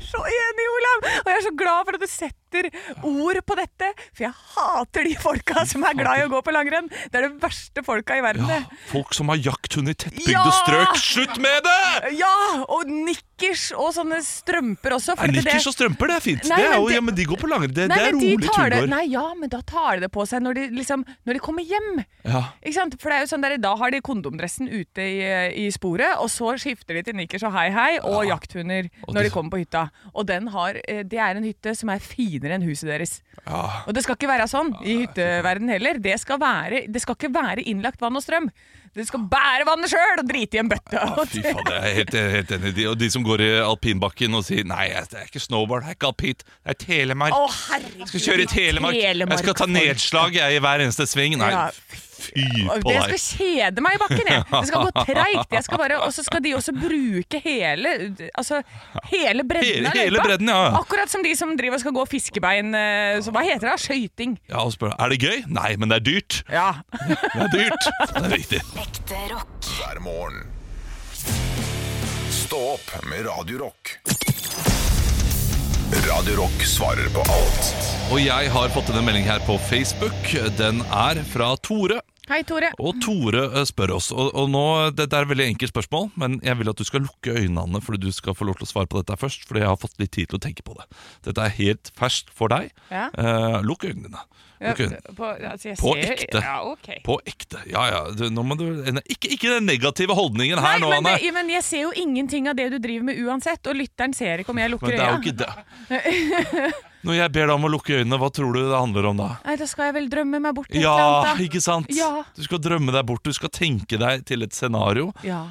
Speaker 2: så enig, Olav! Og jeg er så glad for at du setter ord på dette, for jeg hater de folka som er glad i å gå på langrenn. Det er det verste folka i verden,
Speaker 3: ja,
Speaker 2: det.
Speaker 3: folk som har jakthund i tettbygde
Speaker 2: Ja!
Speaker 3: strøk. Slutt med det!
Speaker 2: Ja, og nikkers og sånne strømper også.
Speaker 3: Nei,
Speaker 2: at det-
Speaker 3: Nikkers og strømper, det er fint.
Speaker 2: Nei,
Speaker 3: det er
Speaker 2: men
Speaker 3: jo,
Speaker 2: det-
Speaker 3: ja, men de går på langrenn.
Speaker 2: Nei,
Speaker 3: Det, det er
Speaker 2: men de
Speaker 3: rolig
Speaker 2: tar det-
Speaker 3: turgåer.
Speaker 2: Nei, ja, men da tar de det på seg når de, liksom, når de kommer hjem.
Speaker 3: Ja.
Speaker 2: Ikke sant? For det er jo sånn der, Da har de kondomdressen ute i, i sporet, og så skifter de til nikkers og hei hei og jakthunder
Speaker 3: Og
Speaker 2: når
Speaker 3: de-
Speaker 2: de kommer på hytta. Og den har, eh, Det er en hytte som er finere enn huset deres.
Speaker 3: Ja.
Speaker 2: Og det skal ikke være sånn i hytteverden heller. Det skal, være, det skal ikke være innlagt vann og strøm. Du skal bære vannet sjøl og drite i en bøtte.
Speaker 3: Ja, fy faen, jeg er helt, helt enig i de. Og de som går i alpinbakken og sier Nei, jeg- det er ikke snowboard, det er ikke alpint, det er Telemark.
Speaker 2: Å, herregud.
Speaker 3: jeg skal kjøre i Telemark. Jeg skal ta nedslag jeg, i hver eneste sving. Nei,
Speaker 2: Ja.
Speaker 3: fy
Speaker 2: Og
Speaker 3: på
Speaker 2: det-
Speaker 3: deg.
Speaker 2: Jeg skal kjede meg i bakken, jeg. Det skal gå
Speaker 3: [laughs]
Speaker 2: treigt. Jeg skal bare- Og så skal de også bruke hele, altså, hele bredden av
Speaker 3: Hele- hele
Speaker 2: løypa.
Speaker 3: bredden, ja, ja.
Speaker 2: Akkurat som de som driver og skal gå fiskebein eh, så, Hva heter det? Skøyting.
Speaker 3: Ja, og spør, Er det gøy? Nei, men det er dyrt.
Speaker 2: Ja.
Speaker 3: Det er
Speaker 2: [laughs]
Speaker 3: dyrt. Det er riktig.
Speaker 4: Ekte rock.
Speaker 1: hver morgen. Stå opp med Radio Rock. Radio Rock svarer på alt
Speaker 3: Og jeg har fått en melding her på Facebook. Den er fra Tore.
Speaker 2: Hei, Tore.
Speaker 3: Og Tore eh, spør oss, og, og nå, dette er et veldig enkelt spørsmål, men jeg vil at du skal lukke øynene, Anne, fordi du skal få lov til å svare på dette først, fordi jeg har fått litt tid til å tenke på det. Dette er helt ferskt for deg.
Speaker 2: Ja.
Speaker 3: Eh, lukk øynene dine. Lukk øynene.
Speaker 2: På, altså, jeg
Speaker 3: På
Speaker 2: ser-
Speaker 3: ekte.
Speaker 2: Ja, ok.
Speaker 3: På ekte. Ja, ja. Du, nå må du, ikke, ikke den negative holdningen her
Speaker 2: Nei,
Speaker 3: nå,
Speaker 2: men,
Speaker 3: Anne.
Speaker 2: det, men jeg ser jo ingenting av det du driver med uansett, og lytteren ser ikke om jeg lukker
Speaker 3: Men det er jo
Speaker 2: øya.
Speaker 3: ikke det.
Speaker 2: [laughs]
Speaker 3: Når jeg ber deg om å lukke øynene, hva tror du det handler om da?
Speaker 2: Nei, da skal jeg vel drømme meg bort til et eller
Speaker 3: Ja,
Speaker 2: annet, da.
Speaker 3: ikke sant?
Speaker 2: Ja.
Speaker 3: Du skal drømme deg bort, du skal tenke deg til et scenario.
Speaker 2: Ja.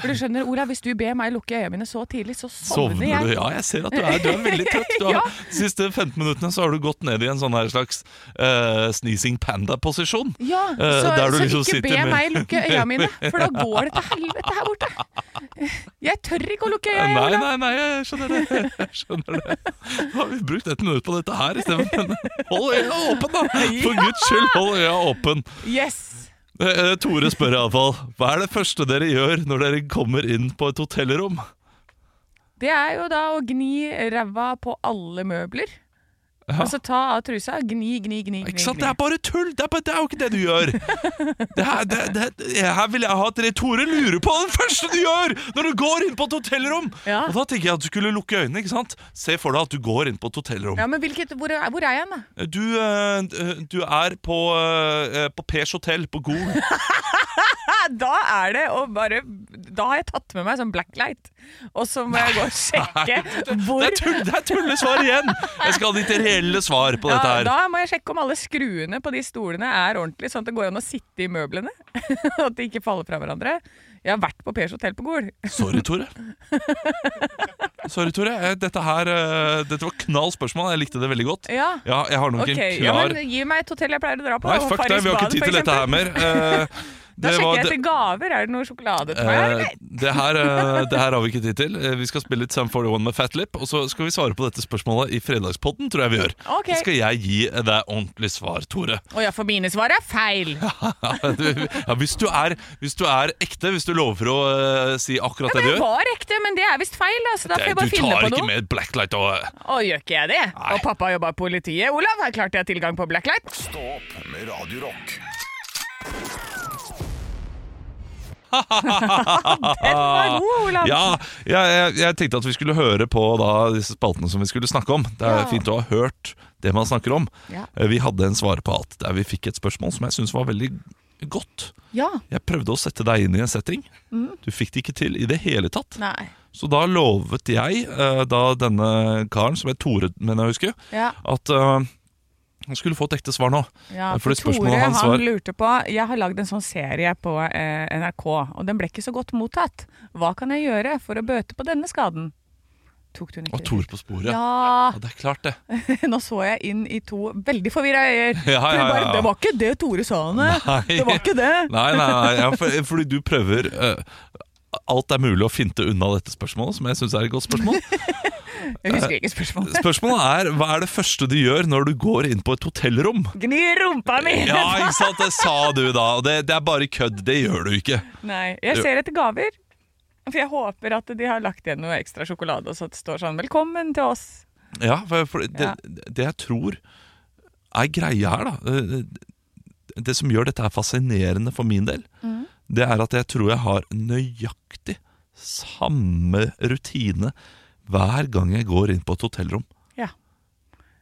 Speaker 2: For du skjønner, Olav, hvis du ber meg lukke øya mine så tidlig, så sovner,
Speaker 3: Sovner
Speaker 2: jeg.
Speaker 3: du? Ja, jeg ser at du er, du er veldig trøtt.
Speaker 2: [laughs]
Speaker 3: Du har,
Speaker 2: Ja.
Speaker 3: De siste 15 minuttene så har du gått ned i en sånn her slags eh, sneezing panda-posisjon.
Speaker 2: Ja,
Speaker 3: Eh,
Speaker 2: så,
Speaker 3: der du
Speaker 2: så
Speaker 3: liksom
Speaker 2: ikke
Speaker 3: sitter
Speaker 2: be
Speaker 3: med-
Speaker 2: meg lukke øya
Speaker 3: [laughs]
Speaker 2: mine, for da går det til helvete her borte. Jeg tør ikke å lukke øya, jeg,
Speaker 3: Nei,
Speaker 2: Olav.
Speaker 3: nei, nei, jeg skjønner det. Jeg skjønner det. Nå har vi brukt ett minutt på dette her isteden. men Hold øya åpen, da! For guds skyld, hold øya åpen.
Speaker 2: Yes.
Speaker 3: Eh, eh, Tore spør iallfall hva er det første dere gjør når dere kommer inn på et hotellrom?
Speaker 2: Det er jo da å gni ræva på alle møbler. Altså ta av trusa, gni, gni, gni. gni,
Speaker 3: Ikke sant? Det
Speaker 2: gni.
Speaker 3: er bare tull! Det er, bare, det er jo ikke det du gjør. Det her, det, det, det her vil jeg ha at dere Tore lurer på den første du gjør når du går inn på et hotellrom!
Speaker 2: Ja.
Speaker 3: Og da tenker jeg at du skulle lukke øynene. ikke sant? Se for deg at du går inn på et hotellrom.
Speaker 2: Ja, men hvilket, hvor, er- hvor er jeg hen, da?
Speaker 3: Du, eh, du er på, eh, på Pers hotell på Gol.
Speaker 2: Ja, Da er det å bare Da har jeg tatt med meg sånn blacklight, og så må jeg gå og sjekke hvor
Speaker 3: [laughs] Det er, tull, det er tullesvar igjen! Jeg skal ha ditt reelle svar på dette
Speaker 2: Ja,
Speaker 3: her.
Speaker 2: da må jeg sjekke om alle skruene på de stolene er ordentlig, sånn at det går an å sitte i møblene. [laughs] at de ikke faller fra hverandre. Jeg har vært på Pers hotell på Gol.
Speaker 3: Sorry, Tore. Sorry, Tore. Eh, Dette her eh, Dette var knall spørsmål. Jeg likte det veldig godt.
Speaker 2: Ja.
Speaker 3: Ja, jeg har nok
Speaker 2: Ok,
Speaker 3: en
Speaker 2: ja,
Speaker 3: klar
Speaker 2: men Gi meg et hotell jeg pleier å dra på.
Speaker 3: Nei,
Speaker 2: og
Speaker 3: fuck
Speaker 2: Paris
Speaker 3: deg, vi har
Speaker 2: Bad,
Speaker 3: ikke tid
Speaker 2: for
Speaker 3: til dette
Speaker 2: eksempel.
Speaker 3: her mer. Eh,
Speaker 2: [laughs] Da
Speaker 3: det var-
Speaker 2: sjekker jeg etter gaver. Er det noe sjokolade til meg?
Speaker 3: Eh,
Speaker 2: eller?
Speaker 3: det, her, eh, det her har vi ikke tid til. Eh, Vi skal spille litt Sam 41 med Fat Lip, og så skal vi svare på dette spørsmålet i fredagspodden, tror jeg vi gjør.
Speaker 2: Ok.
Speaker 3: Så skal jeg gi deg ordentlig svar, Tore. [laughs]
Speaker 2: Å ja, for mine svar er feil!
Speaker 3: Du- ja, hvis, du er, hvis du er ekte, hvis du lover å eh, si akkurat det du
Speaker 2: Det
Speaker 3: gjør
Speaker 2: var ekte, men det er visst feil. Altså, da får
Speaker 3: Det-
Speaker 2: jeg
Speaker 3: Du
Speaker 2: bare finne
Speaker 3: tar
Speaker 2: på
Speaker 3: ikke
Speaker 2: noe.
Speaker 3: med blacklight og
Speaker 2: Å, gjør ikke jeg det?
Speaker 3: Nei.
Speaker 2: Og pappa jobba i politiet. Olav, her klarte jeg tilgang på blacklight.
Speaker 1: med Radio Rock.
Speaker 2: Den var god, Olav!
Speaker 3: Ah, Ja, jeg, jeg, jeg tenkte at vi skulle høre på da, disse spaltene som vi skulle snakke om. Det er
Speaker 2: Ja.
Speaker 3: fint å ha hørt det man snakker om.
Speaker 2: Ja.
Speaker 3: Eh, Vi hadde en svare på alt der vi fikk et spørsmål som jeg syns var veldig godt.
Speaker 2: ja.
Speaker 3: Jeg prøvde å sette deg inn i en setting. Du fikk det ikke til i det hele tatt.
Speaker 2: Mm. Nei.
Speaker 3: Så da lovet jeg eh, da denne karen, som het Tore, mener jeg å huske,
Speaker 2: Ja.
Speaker 3: at eh, han skulle få et ekte svar nå.
Speaker 2: Ja,
Speaker 3: Eh,
Speaker 2: for
Speaker 3: fordi
Speaker 2: Tore
Speaker 3: spørsmålet
Speaker 2: han
Speaker 3: hans var-
Speaker 2: lurte på Jeg har lagd en sånn serie på eh, NRK, og den ble ikke så godt mottatt. Hva kan jeg gjøre for å bøte på denne skaden? Tok du den ikke?
Speaker 3: Og Tore på sporet.
Speaker 2: Ja,
Speaker 3: Ja, det er klart, det.
Speaker 2: Nå så jeg inn i to veldig forvirra øyer.
Speaker 3: Ja,
Speaker 2: For
Speaker 3: ja,
Speaker 2: bare,
Speaker 3: ja.
Speaker 2: Det var ikke det Tore sa, Anne.
Speaker 3: Nei.
Speaker 2: [laughs] Det var ikke det.
Speaker 3: [laughs] Nei, nei, nei ja, for, fordi du prøver eh, Alt er mulig å finte unna dette spørsmålet, som jeg syns er et godt spørsmål.
Speaker 2: Jeg husker ikke spørsmålet.
Speaker 3: Spørsmålet er hva er det første du gjør når du går inn på et hotellrom?
Speaker 2: Gni rumpa mi!
Speaker 3: Ja, ikke sant, det sa du da. Og det, det er bare kødd. Det gjør du ikke.
Speaker 2: [laughs] Nei, jeg ser etter gaver. For jeg håper at de har lagt igjen noe ekstra sjokolade, og så det står sånn 'velkommen til oss'.
Speaker 3: Ja, for, for det,
Speaker 2: Ja.
Speaker 3: det jeg tror er greia her, da eh, Det som gjør dette her fascinerende for min del,
Speaker 2: Mm.
Speaker 3: det er at jeg tror jeg har nøyaktig samme rutine hver gang jeg går inn på et hotellrom.
Speaker 2: Ja.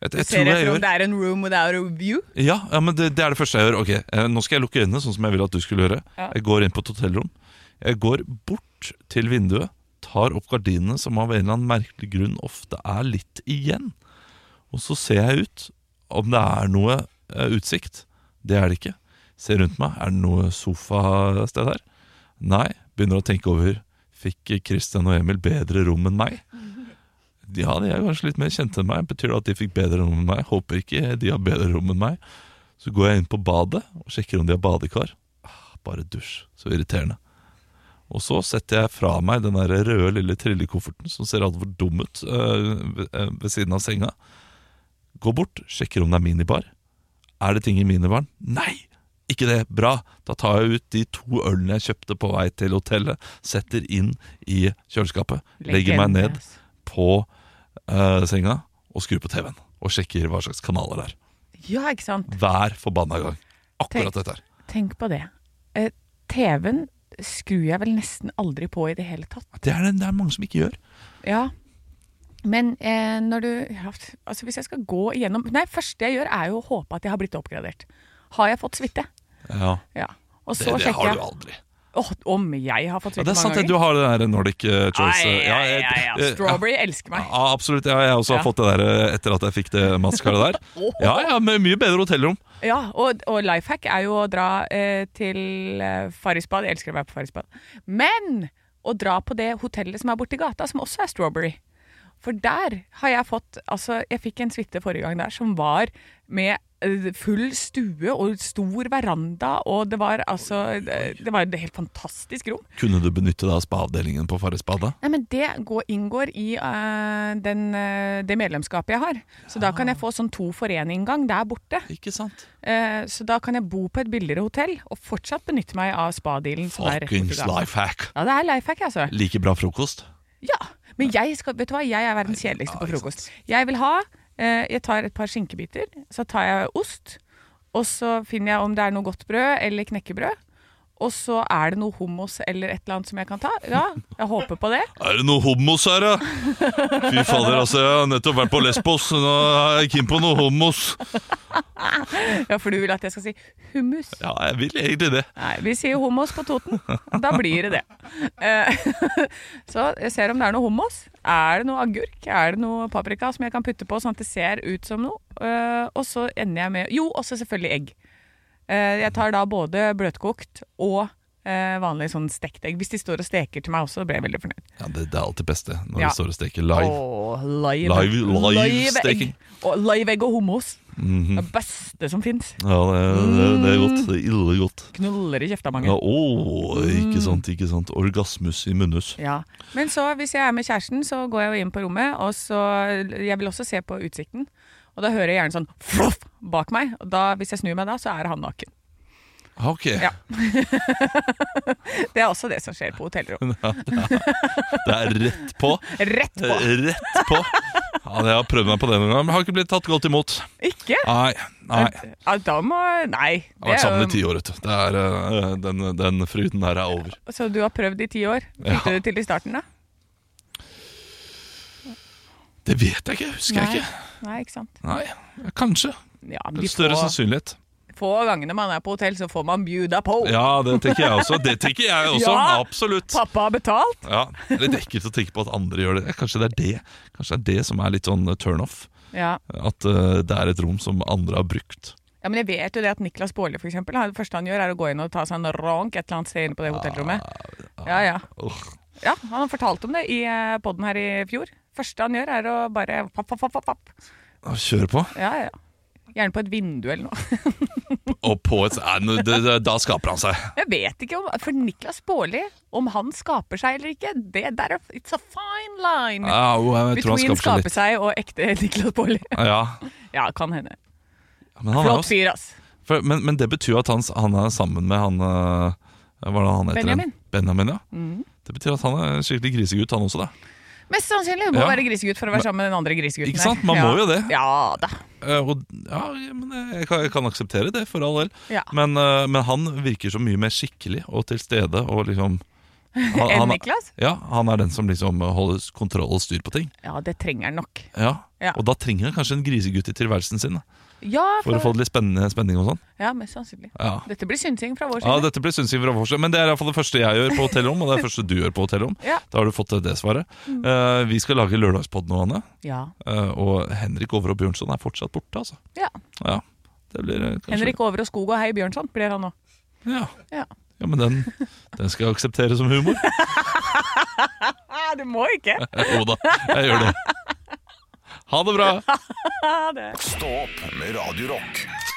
Speaker 3: Jeg,
Speaker 2: Jeg
Speaker 3: jeg
Speaker 2: ser
Speaker 3: tror jeg
Speaker 2: etter om
Speaker 3: gjør
Speaker 2: det er en room without a view.
Speaker 3: ja, ja, men det, det er det første jeg gjør. Ok, eh, Nå skal jeg lukke øynene, sånn som jeg ville at du skulle gjøre.
Speaker 2: Ja.
Speaker 3: Jeg går inn på et hotellrom. Jeg går bort til vinduet, tar opp gardinene, som av en eller annen merkelig grunn ofte er litt igjen. Og så ser jeg ut om det er noe eh, utsikt. Det er det ikke. Ser rundt meg. Er det noe sofasted her? Nei. Begynner å tenke over Fikk Christian og Emil bedre rom enn meg? Ja, de er kanskje litt mer kjente enn meg. Betyr det at de fikk bedre rom enn meg? Håper ikke de har bedre rom enn meg. Så går jeg inn på badet og sjekker om de har badekar. Ah, Bare dusj. Så irriterende. Og så setter jeg fra meg den der røde lille trillekofferten som ser altfor dum ut øh, ved- øh, ved siden av senga. Går bort, sjekker om det er minibar. Er det ting i minibaren? Nei! Ikke det. Bra. Da tar jeg ut de to ølene jeg kjøpte på vei til hotellet, setter inn i kjøleskapet, legger meg
Speaker 2: Legende, altså.
Speaker 3: ned
Speaker 2: ass.
Speaker 3: på eh, senga og skrur på TV-en. Og sjekker hva slags kanaler det er.
Speaker 2: Ja, ikke sant.
Speaker 3: Hver forbanna gang. Akkurat
Speaker 2: Tenk.
Speaker 3: dette her.
Speaker 2: Tenk på det. Eh, TV-en skrur jeg vel nesten aldri på i det hele tatt.
Speaker 3: Det er det, det er mange som ikke gjør.
Speaker 2: Ja. Men eh, når du ja, Altså, hvis jeg skal gå igjennom Nei, første jeg gjør, er jo å håpe at jeg har blitt oppgradert. Har jeg fått suite?
Speaker 3: Ja,
Speaker 2: Ja. Og
Speaker 3: Det,
Speaker 2: så
Speaker 3: det
Speaker 2: sjekker
Speaker 3: har du
Speaker 2: jeg.
Speaker 3: aldri.
Speaker 2: Åh, om jeg har fått
Speaker 3: Ja,
Speaker 2: suite
Speaker 3: det er sant,
Speaker 2: mange
Speaker 3: det. du
Speaker 2: ganger?
Speaker 3: har det der Nordic eh, Choice.
Speaker 2: Ai,
Speaker 3: eh, ja,
Speaker 2: ai,
Speaker 3: jeg-
Speaker 2: ai, ai,
Speaker 3: eh,
Speaker 2: Strawberry elsker meg.
Speaker 3: Ja, absolutt. Ja, jeg har også
Speaker 2: Ja.
Speaker 3: fått det der eh, etter at jeg fikk det maskaret
Speaker 2: [laughs]
Speaker 3: der. Ja, ja, med mye bedre hotellrom.
Speaker 2: Ja, og, og life hack er jo å dra eh, til eh, Farrisbad. Jeg elsker å være på Farrisbad. Men å dra på det hotellet som er borti gata, som også er Strawberry. For der har jeg fått Altså, jeg fikk en suite forrige gang der som var med eh, full stue og stor veranda, og det var altså eh, Det var et helt fantastisk rom.
Speaker 3: Kunne du benytte deg av spa-avdelingen på Farris bad? da?
Speaker 2: Nei, men Det går, inngår i eh, den, eh, det medlemskapet jeg har. Så da kan jeg få sånn to for én-inngang der borte.
Speaker 3: Ikke sant?
Speaker 2: Eh, Så da kan jeg bo på et billigere hotell og fortsatt benytte meg av spadealen. som Sånn er rett borti
Speaker 3: Fuckings
Speaker 2: gata.
Speaker 3: life hack.
Speaker 2: Ja, det er life hack, altså.
Speaker 3: Like bra frokost.
Speaker 2: Ja, Men jeg skal, vet du hva, jeg er verdens kjedeligste på frokost. Jeg vil ha eh, Jeg tar et par skinkebiter, så tar jeg ost. Og så finner jeg om det er noe godt brød eller knekkebrød. Og så er det noe hummus eller et eller annet som jeg kan ta. Ja, jeg håper på det.
Speaker 3: Er det noe homos her, da? Fy fader, altså. Jeg har nettopp vært på Lesbos. Nå er jeg keen på noe homos.
Speaker 2: Ja, For du vil at jeg skal si hummus.
Speaker 3: Ja, jeg vil egentlig det.
Speaker 2: Nei, vi sier homos på Toten. Da blir det det. Eh, [laughs] Så jeg ser om det er noe homos. Er det noe agurk? Er det noe paprika som jeg kan putte på sånn at det ser ut som noe? Eh, Og så ender jeg med Jo, også selvfølgelig egg. Eh, Jeg tar da både bløtkokt og eh, vanlig sånn stekt egg. Hvis de står og steker til meg også, blir jeg veldig fornøyd.
Speaker 3: Ja, Det, det er alltid beste når
Speaker 2: Ja.
Speaker 3: du står og steker live.
Speaker 2: Åh, live.
Speaker 3: Live- live Mhm.
Speaker 2: egg.
Speaker 3: steking.
Speaker 2: Og live egg og homos. Det beste som fins.
Speaker 3: Ja, det, det, det er godt. Det er ille godt.
Speaker 2: Knuller i kjefta mange.
Speaker 3: Ja, å,
Speaker 2: Mm.
Speaker 3: ikke sant, ikke sant. Orgasmus i munnhus.
Speaker 2: Ja, Men så hvis jeg er med kjæresten, så går jeg jo inn på rommet, og så Jeg vil også se på utsikten. Og da hører jeg gjerne sånn floff bak meg. Og da, hvis jeg snur meg da, så er han naken.
Speaker 3: Ok. [laughs]
Speaker 2: Ja. Det er også det som skjer på hotellrom.
Speaker 3: Det er rett på.
Speaker 2: Rett på!
Speaker 3: Rett på. Ja, jeg har prøvd meg på det noen ganger, men har ikke blitt tatt godt imot.
Speaker 2: Ikke?
Speaker 3: Nei, nei.
Speaker 2: Ja, da må Nei.
Speaker 3: Jeg har vært sammen i
Speaker 2: det er
Speaker 3: ti år, vet du. Det er, eh, den, den fryden der er over.
Speaker 2: jo- Så du har prøvd i ti år? Fikk
Speaker 3: Ja.
Speaker 2: du det til i starten, da?
Speaker 3: Det vet jeg ikke, husker jeg ikke.
Speaker 2: Nei, ikke sant.
Speaker 3: Nei, Kanskje.
Speaker 2: Ja, men de
Speaker 3: Større
Speaker 2: få,
Speaker 3: sannsynlighet.
Speaker 2: få gangene man er på hotell, så får man bjuda på.
Speaker 3: Ja, det tenker jeg også. Det tenker jeg også,
Speaker 2: Ja.
Speaker 3: absolutt.
Speaker 2: Pappa har betalt.
Speaker 3: Ja, det er Litt ekkelt å tenke på at andre gjør det. Kanskje det er det Kanskje det er det som er litt sånn turnoff.
Speaker 2: Ja.
Speaker 3: At eh, det er et rom som andre har brukt.
Speaker 2: ja, men jeg vet jo det at Niklas Baarli, for eksempel, han- det første han gjør, er å gå inn og ta seg en ronk et eller annet sted inne på det hotellrommet.
Speaker 3: Ah,
Speaker 2: Ja, ja.
Speaker 3: Åh,
Speaker 2: Ja, han fortalte om det i poden her i fjor. Første han gjør, er å bare papp, papp, papp, papp, papp.
Speaker 3: Kjør på.
Speaker 2: Ja, ja. ja. Gjerne på et vindu eller noe. [laughs]
Speaker 3: Og på et eh, nå, det- det- Da skaper han seg.
Speaker 2: Jeg vet ikke om For Niklas Baarli, om han skaper seg eller ikke, det der er It's a fine line
Speaker 3: Ja, jo, jeg tror
Speaker 2: between
Speaker 3: han skaper
Speaker 2: skape
Speaker 3: seg litt.
Speaker 2: seg og ekte [laughs] Niklas Baarli.
Speaker 3: Ja,
Speaker 2: Ja, kan hende.
Speaker 3: men, han er
Speaker 2: Flott
Speaker 3: også,
Speaker 2: fyr, ass.
Speaker 3: for, men, men det betyr jo at han, s- han er sammen med han eh, Hva er det han heter?
Speaker 2: Benjamin.
Speaker 3: igjen? Benjamin, Mm. ja. Det betyr at han er en skikkelig grisegutt, han også. da
Speaker 2: Mest sannsynlig. Du må
Speaker 3: Ja.
Speaker 2: være grisegutt for å være sammen med den andre grisegutten.
Speaker 3: Ikke sant?
Speaker 2: her.
Speaker 3: Man
Speaker 2: ja.
Speaker 3: må jo det.
Speaker 2: Ja da.
Speaker 3: Eh, og, ja, men eh, jeg kan, jeg kan akseptere det, for all del.
Speaker 2: Ja.
Speaker 3: Men, eh, men han virker så mye mer skikkelig og til stede og liksom han,
Speaker 2: [laughs] Enn
Speaker 3: han-
Speaker 2: Niklas?
Speaker 3: Ja, han er den som liksom holder kontroll og styr på ting.
Speaker 2: Ja, det trenger han nok.
Speaker 3: Ja.
Speaker 2: Ja.
Speaker 3: Og da trenger han kanskje en grisegutt i tilværelsen sin da,
Speaker 2: Ja,
Speaker 3: for å få det litt spennende spenning og sånn.
Speaker 2: ja mest sannsynlig.
Speaker 3: Ja.
Speaker 2: Dette blir synsing fra vår
Speaker 3: Ja,
Speaker 2: side.
Speaker 3: dette blir synsing fra vår side, men det er i hvert fall det første jeg gjør på hotellrom, og det er det første du gjør på hotellrom.
Speaker 2: Ja. Mm.
Speaker 3: Da har du fått det svaret. Eh, vi skal lage lørdagspodd nå, Anne,
Speaker 2: Ja.
Speaker 3: Eh, og Henrik Over og Bjørnson er fortsatt borte, altså.
Speaker 2: ja.
Speaker 3: Ja. Det blir eh, kanskje
Speaker 2: Henrik Over og Skog og Hei Bjørnson blir han nå.
Speaker 3: Ja.
Speaker 2: Ja.
Speaker 3: Ja, men den, den skal jeg akseptere som humor.
Speaker 2: Ah, du må ikke!
Speaker 3: Jo da, Eh, jeg gjør det. Ha det bra!
Speaker 1: Stå opp med Radio Rock.